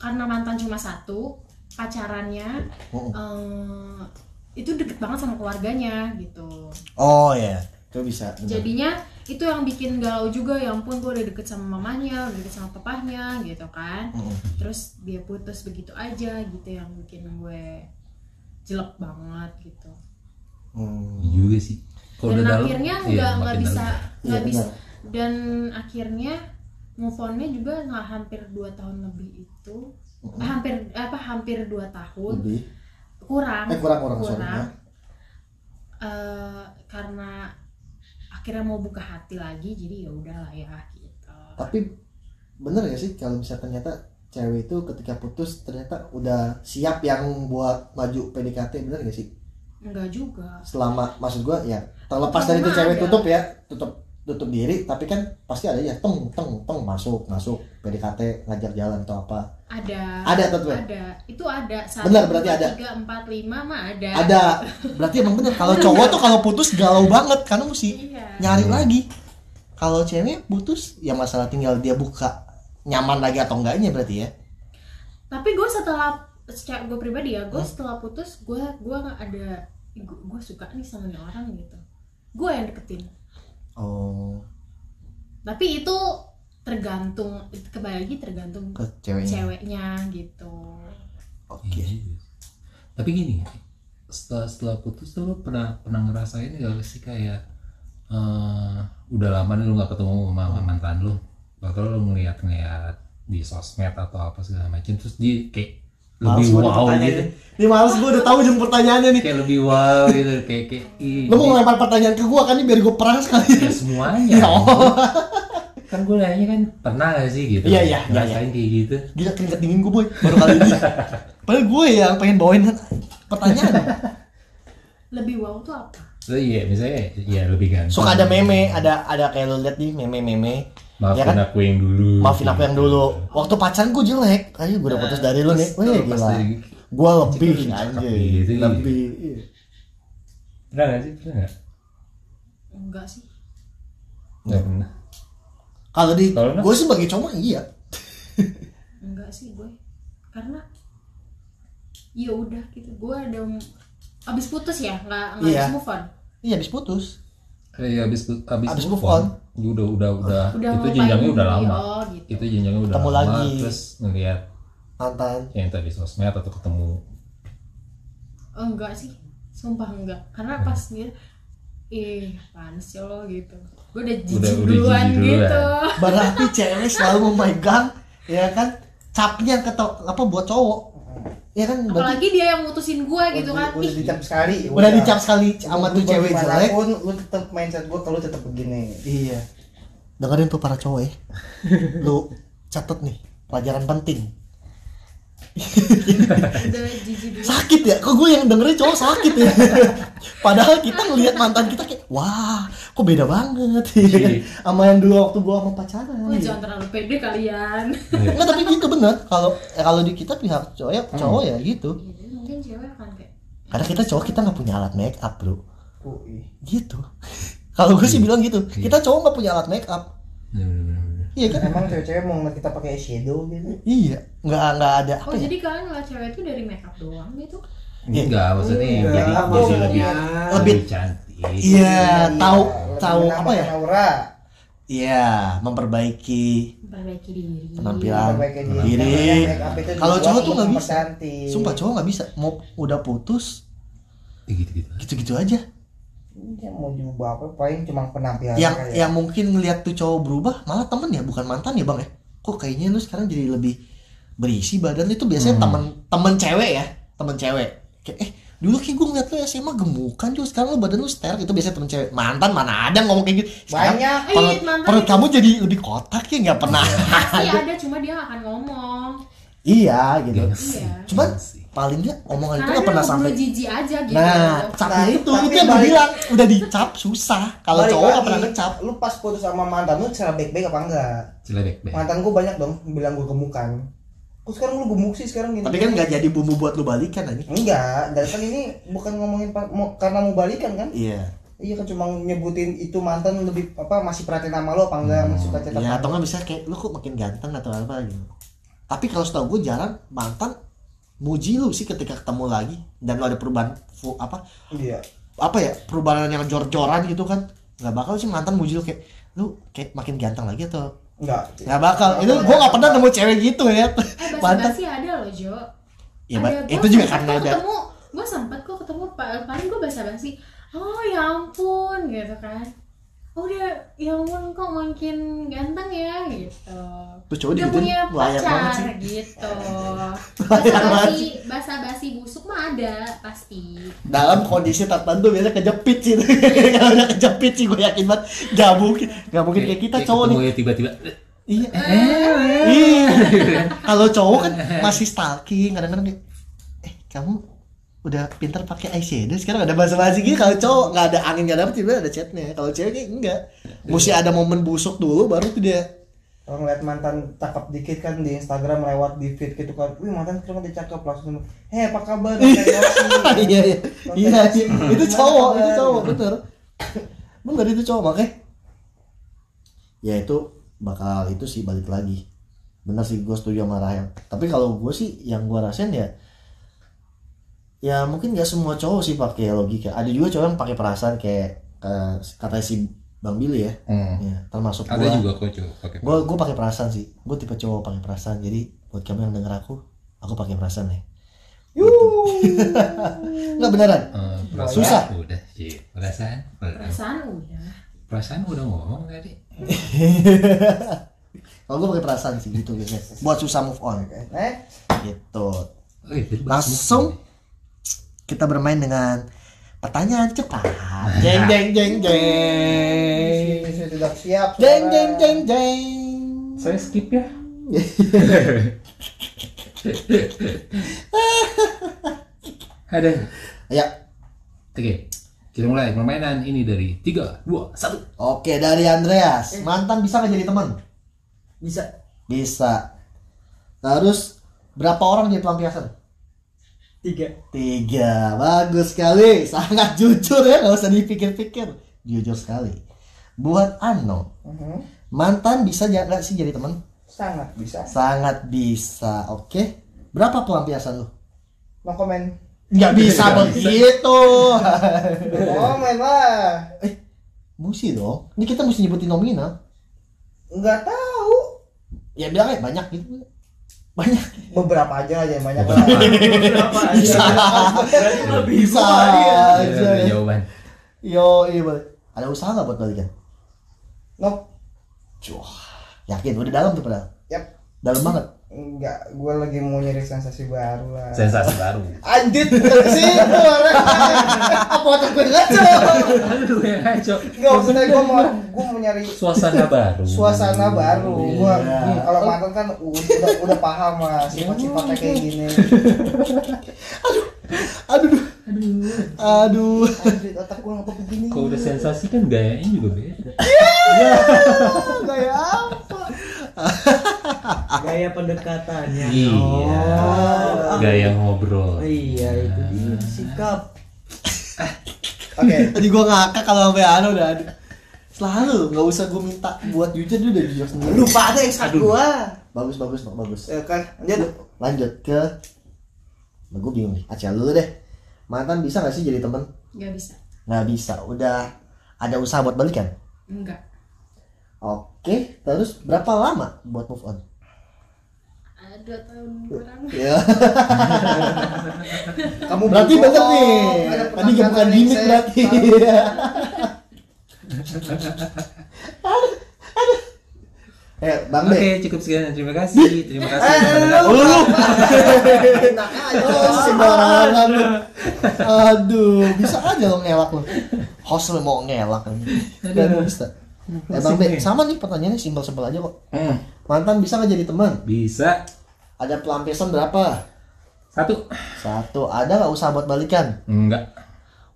S5: karena mantan cuma satu pacarannya
S1: Mm-mm.
S5: eh, itu deket banget sama keluarganya gitu
S1: Oh ya, itu bisa. benar.
S5: jadinya itu yang bikin galau juga ya ampun gue udah deket sama mamanya udah deket sama papahnya gitu kan
S1: Mm-mm.
S5: terus dia putus begitu aja gitu yang bikin gue jelek banget gitu
S1: Hmm.
S2: Iya juga sih. Kalau udah
S5: dan
S2: dalam,
S5: akhirnya
S2: iya,
S5: nggak nggak
S2: makin
S5: bisa
S2: dalam.
S5: nggak
S1: Iya,
S5: bisa dan akhirnya move onnya juga nggak hampir 2 tahun lebih itu Eh, hampir apa hampir 2 tahun
S1: Lebih.
S5: kurang
S1: Eh, kurang, kurang, sorry, ya.
S5: Eh, karena akhirnya mau buka hati lagi jadi ya udahlah ya gitu
S1: Tapi bener ya sih kalau misalnya ternyata cewek itu ketika putus ternyata udah siap yang buat maju PDKT bener gak sih?
S5: enggak juga
S1: Selama maksud gua ya terlepas dari itu
S5: Pernah
S1: cewek
S5: ada.
S1: tutup ya, tutup tutup diri tapi kan pasti ada ya teng teng teng masuk masuk PDKT ngajak jalan atau apa
S5: ada
S1: ada ya? atau tuh
S5: ada itu ada satu
S1: Benar, berarti
S5: dua,
S1: ada.
S5: tiga empat lima mah ada
S1: ada berarti emang bener kalau cowok tuh kalau putus galau banget karena mesti
S5: iya
S1: nyari lagi kalau cewek putus ya masalah tinggal dia buka nyaman lagi atau enggaknya berarti ya
S5: tapi gue setelah secara gue pribadi ya gue setelah putus gue gue ada gue suka nih sama nih orang gitu gue yang deketin
S1: oh
S5: tapi itu tergantung kembali lagi tergantung
S1: ke ceweknya
S5: ceweknya gitu
S1: oke
S2: Iya juga sih. Tapi gini, setelah setelah putus tuh lu pernah pernah ngerasain gak sih kayak eh, udah lama nih lu nggak ketemu sama
S1: Hmm.
S2: sama mantan lu, bakal lu ngeliat ngeliat di sosmed atau apa segala macam, terus dia kayak
S1: Males
S2: lebih
S1: gua
S2: wow
S1: dipertanyain.
S2: gitu,
S1: Ini males gue udah tahu jam pertanyaannya nih.
S2: kayak lebih wow gitu, kayak kayak ih,
S1: Lu mau ngelempar pertanyaan ke gue kan ini biar gue perang sekali.
S2: ya semuanya. kan gue nanya kan pernah gak sih gitu
S1: Iya, iya, iya,
S2: ngerasain kayak gitu
S1: Gila keringat dingin gue boy baru kali ini. Padahal gue yang pengen bawain pertanyaan.
S5: lebih wow tuh apa
S2: so iya misalnya ya lebih ganteng
S1: Suka ada meme, ada ada kayak lo liat nih meme-meme.
S2: maafin
S1: ya kan?
S2: aku yang dulu
S1: Maafin aku yang
S2: gitu.
S1: dulu. Waktu pacaran gue jelek, ayo gue udah putus dari lu nih.
S2: Terus
S1: Wih
S2: lu pas
S1: gila.
S2: dari-
S1: Gue
S2: Itu
S1: lebih
S2: lebih cakep
S1: anjir.
S2: gitu, iya.
S1: Lebih. iya.
S2: Pernah gak sih? Pernah gak?
S5: enggak sih
S2: Gak
S1: Iya.
S2: pernah
S1: Kalau di
S2: Kalau lu?
S1: gue sih sebagai cowok iya.
S5: enggak sih gue karena ya udah gitu gue ada abis putus ya nggak nggak
S1: Iya.
S5: abis move on
S1: Iya habis putus.
S2: Eh, abis, abis,
S1: Abis
S2: move
S1: move
S2: on,
S1: on.
S2: Udah, udah, udah, Itu
S5: Oh, udah ngelupain
S2: jenjangnya udah
S5: diri,
S2: lama
S5: oh, gitu.
S2: Itu jenjangnya udah
S1: Ketemu
S2: lama
S1: lagi.
S2: Terus ngeliat
S1: Mantan.
S2: yang tadi sosmed atau ketemu
S5: Oh, enggak sih sumpah enggak karena pas dia ih apaan sih lo gitu gue udah
S2: Udah-
S5: jijik
S2: udah
S5: duluan
S2: jijik duluan.
S5: gitu
S1: Berarti cewek selalu memegang ya kan capnya ke to- apa buat cowok. Ya kan berarti
S5: apalagi dia yang mutusin gue gitu kan
S3: Udah
S5: ih
S3: dicap sekali.
S1: udah dicap sekali sama tuh
S3: Lu
S1: cewek
S3: bagaimanapun,
S1: jelek
S3: Lu tetap mindset gua kalau tetap begini.
S1: iya dengerin tuh para cowok ya lu catet nih pelajaran penting
S5: udah jijik dulu
S1: sakit ya kok gue yang dengerin cowok sakit ya padahal kita ngelihat mantan kita kayak wah kok beda banget ya?"
S2: Iya.
S1: sama yang dulu waktu gue sama pacaran
S5: Wah, jangan terlalu pede kalian
S2: Iya.
S1: Nggak, tapi gitu bener kalau eh, kalau di kita pihak cowok ya cowok ya gitu
S5: Gitu, mungkin cewek akan kayak
S1: karena kita cowok kita nggak punya alat make up bro
S4: Ui.
S1: gitu kalau gue sih bilang gitu
S2: Iya.
S1: kita cowok nggak punya alat make up
S2: Bener, bener, bener, bener.
S1: iya kan
S4: Emang cewek-cewek mau ngeliat kita pakai shadow gitu?
S1: iya nggak nggak ada apa
S5: oh
S1: ya
S5: jadi kalian ngeliat cewek itu dari makeup doang gitu
S1: Iya.
S2: Enggak, maksudnya
S3: Enggak,
S2: jadi jadi
S3: maksudnya.
S2: lebih
S1: Lebih-
S2: lebih cantik.
S1: iya tahu
S4: Lebih
S1: tahu
S4: menambahkan
S1: apa ya
S4: Aura.
S1: iya memperbaiki
S5: perbaiki diri
S1: penampilan
S4: Perbaiki diri.
S1: diri
S4: Make up itu
S1: Nah, kalau
S4: dibuat
S1: cowok tuh
S4: untuk
S1: nggak bisa
S4: mempercantik.
S1: sumpah cowok nggak bisa mau udah putus
S2: Gitu gitu.
S1: gitu-gitu aja
S4: Iya, mau diubah apa paling cuma penampilan
S1: yang
S4: aja.
S1: yang mungkin ngelihat tuh cowok berubah malah temen ya bukan mantan ya bang ya kok kayaknya lu sekarang jadi lebih berisi badan lu itu biasanya
S4: Hmm.
S1: temen temen cewek ya temen cewek kayak eh dulu kayak gue ngeliat lu SMA gemukan juga sekarang lu badan lu steril itu biasanya temen cewek mantan mana ada ngomong kayak gitu sekarang
S4: banyak Iya, ya.
S5: Eh,
S1: perut,
S5: mantan
S1: perut
S5: itu
S1: kamu jadi lebih kotak ya nggak pernah
S5: pasti ada cuma dia nggak akan ngomong
S1: iya gitu
S2: Gengsi.
S5: Iya.
S1: Cuman,
S2: Gengsi.
S1: paling nggak omongan Oh, itu
S5: karena
S1: nggak
S5: dia
S1: pernah
S5: mau
S1: sampai
S5: sampai... jijik aja gitu
S1: nah cap
S4: Nah,
S1: itu
S4: tapi
S1: itu yang gue
S4: balik-
S1: bilang udah dicap susah kalau
S4: Balik
S1: cowok nggak
S4: lagi,
S1: pernah ngecap
S4: lu pas putus sama mantan lu secara baik-baik apa enggak
S2: Celebek
S1: Iya.
S2: Bek.
S4: mantan gua banyak dong bilang gua gemukan kok sekarang lu gemuk sih sekarang gini
S1: tapi kan nggak jadi bumbu buat lu balikan aja
S4: enggak dan kan ini bukan ngomongin pa- mau- karena mau balikan kan
S1: iya
S4: iya kan cuma nyebutin itu mantan lebih apa masih perhatian sama lu apa enggak masih suka cetak
S1: Ya atau nggak bisa kayak lu kok makin ganteng atau apa gitu. Tapi kalau setahu gue jalan mantan muji lu sih ketika ketemu lagi dan lu ada perubahan fu- apa
S4: iya
S1: apa ya perubahan yang jor-joran gitu kan nggak bakal sih mantan muji lu kayak lu kayak makin ganteng lagi atau
S4: enggak
S1: nggak bakal itu gue nggak pernah nemu cewek gitu ya
S5: eh basa
S1: mantan
S5: basi ada loh Jo
S1: ya
S5: ada
S1: ba-
S5: Gua
S1: itu juga
S5: sempet
S1: karena
S5: kok
S1: ada
S5: ketemu gue sempet kok ketemu pak paling gue basa basi oh ya ampun gitu kan oh udah ya ampun kok makin ganteng ya gitu
S1: tuh cowok
S5: udah
S1: gitu
S5: punya
S1: layak banget sih
S5: pacar gitu
S1: Layak banget
S5: basa-basi
S1: sih.
S5: basa-basi busuk mah ada pasti
S1: dalam kondisi tertentu biasanya kejepit sih kalau udah kejepit sih gue yakin banget nggak mungkin nggak mungkin kayak kita cowok nih
S2: ketemu ya tiba-tiba.
S1: Iya. Iya. Kalau cowok kan masih stalking kadang-kadang kayak eh kamu udah pintar pakai eyeshadow sekarang ada bahasa basi gitu kalau cowok nggak ada angin nggak dapet tiba ada chatnya kalau cewek kayak enggak mesti ada momen busuk dulu baru tuh dia
S4: orang lihat mantan cakep dikit kan di Instagram lewat di feed gitu kan wih mantan sekarang dia cakep langsung hei apa kabar Konten
S1: iya iya iya iya. itu cowok itu
S4: Bener.
S1: cowok bener bener itu cowok makanya ya itu bakal itu sih balik lagi bener sih gue setuju sama Rahel tapi kalau gue sih yang gue rasain ya ya mungkin gak semua cowok sih pakai logika ada juga cowok yang pakai perasaan kayak eh, katanya si Bang Billy ya,
S2: Hmm.
S1: ya termasuk
S2: Ada
S1: gue
S2: juga kok cowok pakai.
S1: gue gue pakai perasaan sih gue tipe cowok pakai perasaan jadi buat kamu yang denger aku aku pakai perasaan ya Gitu. nggak beneran
S2: Eh, perasaan
S1: Susah.
S2: Udah sih. Perasaan. perasaan.
S5: perasaan udah
S2: Perasaan udah ngomong tadi.
S1: Kalau gue pakai perasaan sih gitu biasanya. Buat susah move on
S4: eh
S1: gitu.
S2: Oh, iya, tadi bahas
S1: Langsung kita bermain dengan pertanyaan cepat. Jeng jeng jeng jeng.
S4: saya tidak siap
S1: Jeng
S4: saudara.
S1: jeng jeng jeng.
S2: Saya skip ya. Ada.
S1: Ya,
S2: Oke. Kita mulai permainan ini dari 3 2 1.
S1: oke dari Andreas. Mantan bisa nggak jadi teman?
S4: bisa
S1: Bisa. Terus berapa orang jadi pelampiasan?
S4: tiga
S1: Tiga, bagus sekali, sangat jujur ya, nggak usah dipikir-pikir, jujur sekali. Buat Ano,
S4: Mhm.
S1: mantan bisa ja- nggak sih jadi teman?
S4: sangat bisa
S1: Sangat bisa, oke. Berapa pelampiasan lu?
S4: no comment
S1: Nggak bisa Gitu. begitu.
S4: no comment lah
S1: Musi dong. Ini kita mesti nyebutin nominal.
S4: nggak tahu
S1: Ya bilang aja banyak gitu. Banyak.
S4: beberapa aja aja yang banyak lah
S2: Beberapa.
S1: Bisa. bisa Iya,
S2: Ada ada
S1: aja.
S2: jawaban.
S1: Yo, iya boleh. Ada usaha nggak buat balikan?
S4: no
S1: Cuh, yakin udah dalam tuh padahal.
S4: yap
S1: Dalam banget.
S3: Enggak, gue lagi mau nyari sensasi baru lah.
S2: sensasi baru
S3: Anjir, bukan ke situ orangnya. Apa otak gue ngaco?
S2: aduh ya ngaco
S3: Enggak, maksudnya gue mau gue mau nyari
S2: suasana baru
S3: suasana baru. Gua
S1: Iya.
S3: kalau mantan kan udah udah paham lah sifat-sifatnya kayak
S1: Iya.
S3: gini.
S1: aduh aduh
S3: Anjir, otak gue ngapa begini?
S2: kalau udah sensasi kan gayanya juga beda
S3: Kayak apa?
S4: gaya pendekatannya
S2: iya
S4: Oh.
S2: gaya ngobrol
S4: iya itu dia sikap
S3: Oke,
S1: tadi gua ngakak kalau sampai anu udah aduh. selalu nggak usah gua minta buat jujur dia udah jujur sendiri
S3: lupa ada yang saat gue.
S1: bagus bagus Mak, bagus
S3: Ya kan, lanjut.
S1: lanjut ke nah, gue bingung nih Acel dulu deh mantan bisa nggak sih jadi temen
S5: nggak bisa
S1: nggak bisa udah ada usaha buat balikan
S5: enggak
S1: oke terus berapa lama buat move on
S5: ada tahun kurang
S1: ya
S3: Kamu
S1: berarti
S3: bohong,
S1: bener nih
S3: ada
S1: tadi nggak bukan
S3: pertanyaan
S1: gimmick
S3: yang
S1: berarti
S3: saya-
S1: eh bang
S2: Oke,
S1: Be
S2: cukup sekian. Terima kasih. Terima kasih. kepada-
S1: lu lu
S3: Enak aja.
S1: Oh, sembarangan lu. Aduh, bisa aja lo ngelak lo. Host lo mau ngelak kan. Dan bisa. Emang Be, sama nih pertanyaannya simpel-simpel aja kok.
S2: Hmm,
S1: Mantan bisa nggak jadi teman?
S2: Bisa
S1: Ada pelampiasan berapa?
S2: satu?
S1: Satu. Ada nggak usaha buat balikan?
S2: Enggak.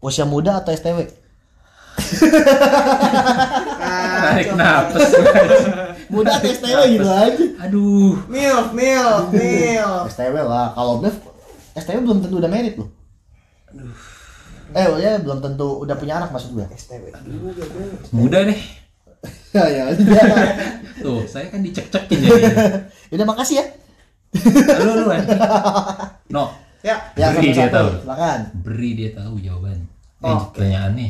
S1: Usia muda atau STW?
S2: Tarik nafas.
S1: Muda atau STW gitu aja.
S2: Aduh.
S3: Mil, mil, mil.
S1: STW lah. Kalau Bev, STW belum tentu udah merit loh. Eh, ya belum tentu udah punya anak maksud gue.
S3: STW.
S2: Muda deh.
S1: Ya, ya, ya.
S2: Tuh, saya kan dicek-cekin jadinya.
S1: Udah makasih ya.
S2: Lu lu kan. No,
S3: Ya,
S1: Ya,
S2: Beri dia tahu.
S1: sama-sama. Silakan.
S2: beri dia tahu jawaban. Eh,
S3: Oh, oke.
S2: pertanyaannya.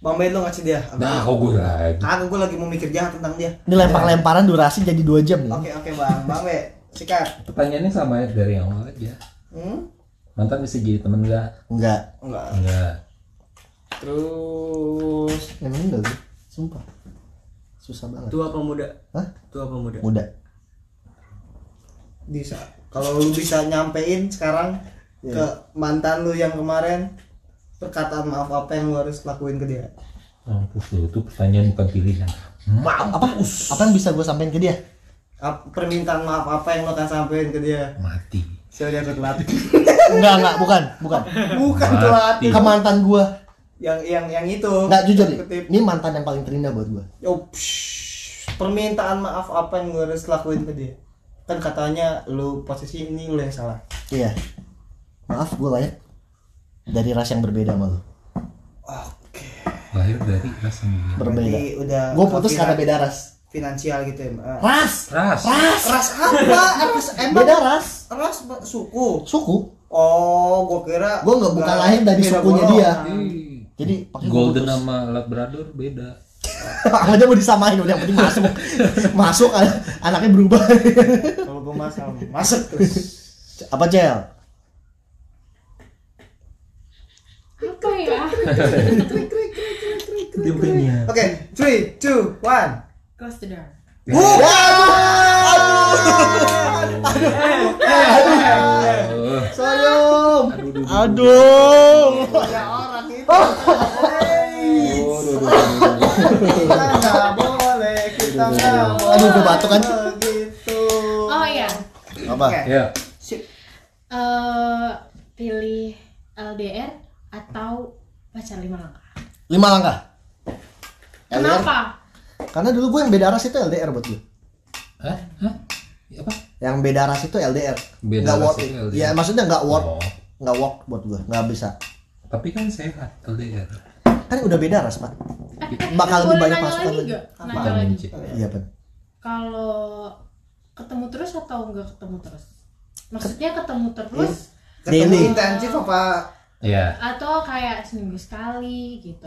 S3: Bang Ben lo ngasih dia.
S2: Nah, kok gue lagi.
S3: Aku gue lagi mau mikir jahat tentang dia.
S1: Ini lempar-lemparan durasi jadi 2 jam
S2: Hmm.
S1: nih.
S3: Oke, oke, Bang. Bang Ben, sikat.
S2: Pertanyaannya sama ya dari yang awal aja.
S3: Hmm?
S2: Mantan bisa jadi temen enggak?
S1: Enggak.
S3: Enggak.
S2: Enggak.
S3: Terus
S1: Emang enggak sih? Sumpah. Susah banget.
S4: tua apa muda
S1: Hah?
S4: tua apa muda
S1: Muda.
S3: bisa kalau lu bisa nyampein sekarang
S2: Iya.
S3: ke mantan lu yang kemarin perkataan maaf apa yang lu harus lakuin ke dia?
S2: Mampus lu, itu pertanyaan bukan pilihan. Mampus.
S1: Apa yang bisa gue sampein ke dia?
S3: Ap- permintaan maaf apa yang lo akan sampein ke dia?
S2: Mati.
S3: Saya udah telat.
S1: Enggak, enggak, bukan, bukan.
S3: Bukan
S2: Mati.
S3: telat.
S1: Ke mantan gue.
S3: Yang yang yang itu.
S1: Enggak jujur nih.
S3: Kutip.
S1: Ini mantan yang paling terindah buat gue.
S3: Oh, psh. permintaan maaf apa yang gue harus lakuin ke dia? Kan katanya lu posisi ini lu yang salah.
S1: Iya. Maaf gue layak dari ras yang berbeda sama lu.
S3: Oke.
S2: Lahir dari rasa muda.
S1: Berbeda.
S3: Jadi eh, udah
S1: Gue putus
S3: finan-
S1: karena beda ras.
S3: finansial gitu ya. Mbak.
S1: Ras.
S2: Ras.
S3: Ras apa? Ras emang
S1: Beda ras.
S3: ras ba- suku.
S1: Suku.
S3: Oh, gue kira
S1: Gue nggak bukan
S3: nggak-
S1: lahir dari
S3: beda
S1: sukunya
S3: golongan.
S1: dia.
S2: Ih.
S1: Jadi pakai
S2: Golden sama Labrador beda.
S1: Aja mau disamain udah yang penting masuk. masuk an- anaknya berubah.
S3: Kalau gue masuk masuk terus.
S1: Apa Cel?
S5: apa ya
S2: Dia
S3: Oke, 3 2 1.
S5: close the door
S2: Oh.
S1: Sayang. Aduh.
S3: Ya orang itu. Hey, Kita nggak boleh, kita nggak boleh.
S1: Aduh, gua batuk kan.
S3: Gitu.
S5: oh iya
S1: Apa?
S3: Oke.
S2: Ya,
S3: Sip.
S5: Eh, pilih LDR atau pacar lima langkah
S1: Lima langkah. LDR.
S5: kenapa
S1: Karena dulu gue yang beda ras itu LDR buat gue.
S2: Hah? Hah? Ya, Apa?
S1: Yang beda ras itu LDR.
S2: Beda
S1: Nggak
S2: ras
S1: worth
S2: itu
S1: it.
S2: LDR.
S1: Ya maksudnya nggak worth,
S2: Oh.
S1: nggak worth buat gue, nggak bisa.
S2: Tapi kan sehat LDR.
S1: Kan udah beda ras pak.
S5: Eh, eh,
S1: Bakal
S5: kita
S1: lebih
S5: boleh
S1: banyak
S5: nanya
S1: masukan
S5: lagi
S1: lagi.
S5: nggak?
S3: Apa?
S5: nanya lagi
S2: Anjir.
S1: Iya kan.
S5: kalau ketemu terus atau enggak ketemu terus maksudnya ketemu terus
S3: Ketemu
S1: Daily.
S3: intensif apa?
S2: Ya.
S5: atau kayak seminggu sekali gitu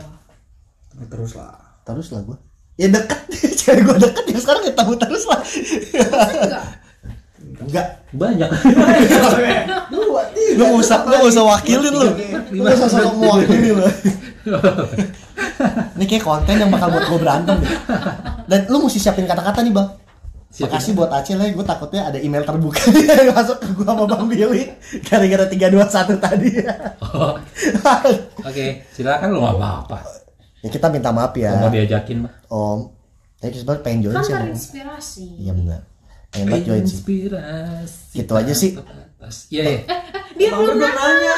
S3: Terus lah.
S1: Terus lah gue. Ya deket, cari gue deket ya sekarang ketemu terus lah.
S5: enggak
S1: Enggak.
S2: Banyak.
S3: Dua, tiga.
S1: Lu nggak usah, lu nggak usah wakilin lu. Lu nggak usah sok mewakili lu. Ini kayak konten yang bakal buat gue berantem deh. Dan lu mesti siapin kata-kata nih bang.
S2: Siapa?
S1: Makasih buat Acil ya, gue takutnya ada email terbuka yang masuk ke gue sama Bang Billy Gara-gara 321 tadi
S2: Oh, Oke, silakan lo nggak apa-apa.
S1: Ya kita minta maaf ya
S2: Kalau mau diajakin mah.
S1: Om Tapi sebenernya pengen join
S5: kan
S1: sih Om.
S5: terinspirasi
S1: Iya bener Pengen banget join sih
S2: Inspirasi.
S1: Gitu aja sih.
S2: terbatas. Iya, iya.
S5: dia
S4: Bang,
S5: belum
S4: belum nanya.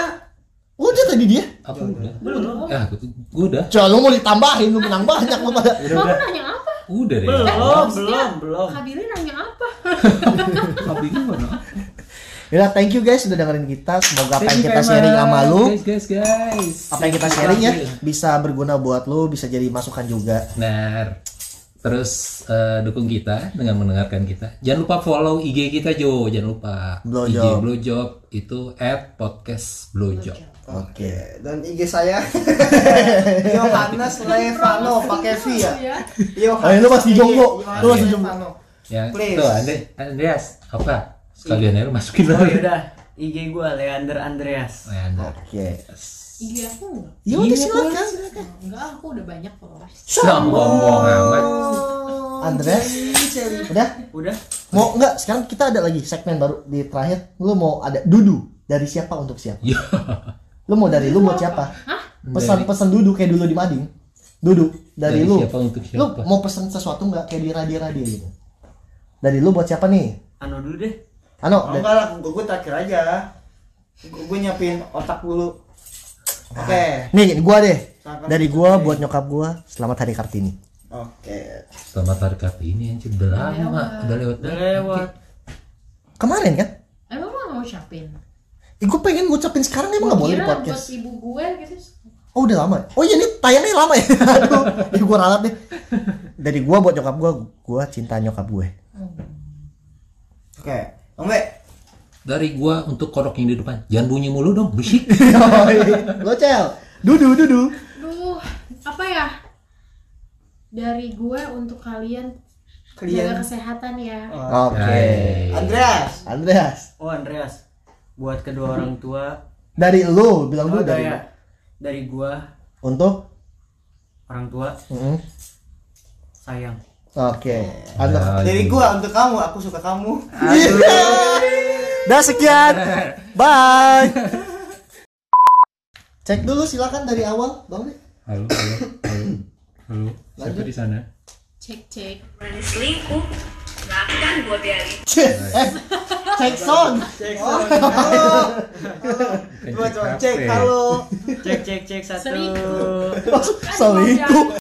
S1: Udah tadi dia
S2: Apa udah?
S4: Belum.
S2: Ah, gue tuh- gue udah.
S1: Coba lu mau ditambahin, lu menang banyak lu pada
S5: kamu nanya apa
S2: Udah deh.
S4: Belum,
S5: Maksudnya,
S4: belum, belum.
S5: Kak Billy nanya apa
S2: Tapi gimana?
S1: Yaudah Ya, thank you guys sudah dengerin kita Semoga apa yang
S2: Thank you
S1: kita
S2: very
S1: sharing
S2: much.
S1: sama lu
S2: Guys, guys, guys.
S1: Apa yang kita sharing ya Bisa berguna buat lu, bisa jadi masukan juga
S2: Benar. Terus eh, dukung kita dengan mendengarkan kita. Jangan lupa follow IG kita Jo, jangan lupa.
S1: Blowjob.
S2: IG Blowjob itu at podcast Blowjob.
S1: Oke
S3: Dan IG saya Yohanes Levano pakai V ya.
S5: Iya.
S3: Yohanes.
S1: Eh, lu masih jomblo. Lu masih jomblo.
S3: Levano.
S2: Ya,
S3: Please.
S2: tuh Andre- Andreas, apa? Sekalian aja lu masukin
S4: Oh
S2: lagi.
S4: yaudah, IG gua Leander Andreas.
S2: Leander.
S1: Oke
S5: IG aku enggak
S1: Ya udah silakan
S5: enggak aku udah banyak followers
S2: Sombong amat.
S3: Oh,
S1: Andres Udah
S4: Udah?
S1: Mau enggak sekarang kita ada lagi segmen baru di terakhir lu mau ada dudu dari siapa untuk siapa?
S2: Ya.
S1: Lu mau dari lu buat siapa? Pesan-pesan dudu kayak dulu di Mading. Dudu dari,
S2: Dari
S1: lu.
S2: siapa untuk
S1: Lu
S2: siapa?
S1: mau pesan sesuatu enggak kayak di radio radio gitu? Dari lu buat siapa nih?
S4: Anu dulu deh.
S1: Ano,
S3: Oh,
S1: dari-
S3: enggak lah, gue, gue terakhir aja. Gue, gue nyiapin otak dulu. Oke.
S1: nih gua deh.
S3: Silakan.
S1: Dari gua buat nyokap gua, selamat hari Kartini.
S3: Oke.
S2: Selamat hari Kartini ini anjir udah lama, udah lewat.
S4: Udah lewat.
S1: Kemarin kan?
S5: emang lo mau ucapin
S1: Eh, gua pengen ngucapin sekarang emang nggak boleh di
S5: Kira
S1: podcast.
S5: buat ibu gue gitu
S1: Oh udah lama. Oh iya ini tayangnya lama ya. Aduh, ini gua ralat deh. Dari gua buat nyokap gua, gua cinta nyokap gue.
S3: Oke. Ombe.
S2: Dari gua untuk kodok yang di depan. Jangan bunyi mulu dong, berisik.
S1: Lo cel. Dudu dudu.
S5: Duh, apa ya? Dari gue untuk kalian jaga
S3: Kalian.
S5: kesehatan ya.
S1: Oke.
S2: Hai.
S3: Andreas.
S1: Andreas.
S4: Oh Andreas, buat kedua orang tua.
S1: Dari lu bilang
S4: Oh
S1: dulu Anu dari
S4: dari,
S1: lu.
S4: dari gua
S1: Untuk
S4: orang tua
S1: Mm-mm.
S4: sayang.
S1: Oke. Andreas. Iya.
S3: Dari gua untuk kamu, aku suka kamu.
S1: Dah sekian. Bye. Cek dulu silakan dari awal, Bang. Dik.
S2: Halo, halo, halo. Halo. Siapa di sana?
S5: Cek cek.
S6: berani selingkuh nggak akan gue biarin
S1: Cek. Eh, cek sound.
S3: Cek. Oh, halo.
S2: ya?
S3: Coba coba cek. Halo.
S4: Cek cek cek satu.
S5: Sering.
S1: Selingkuh.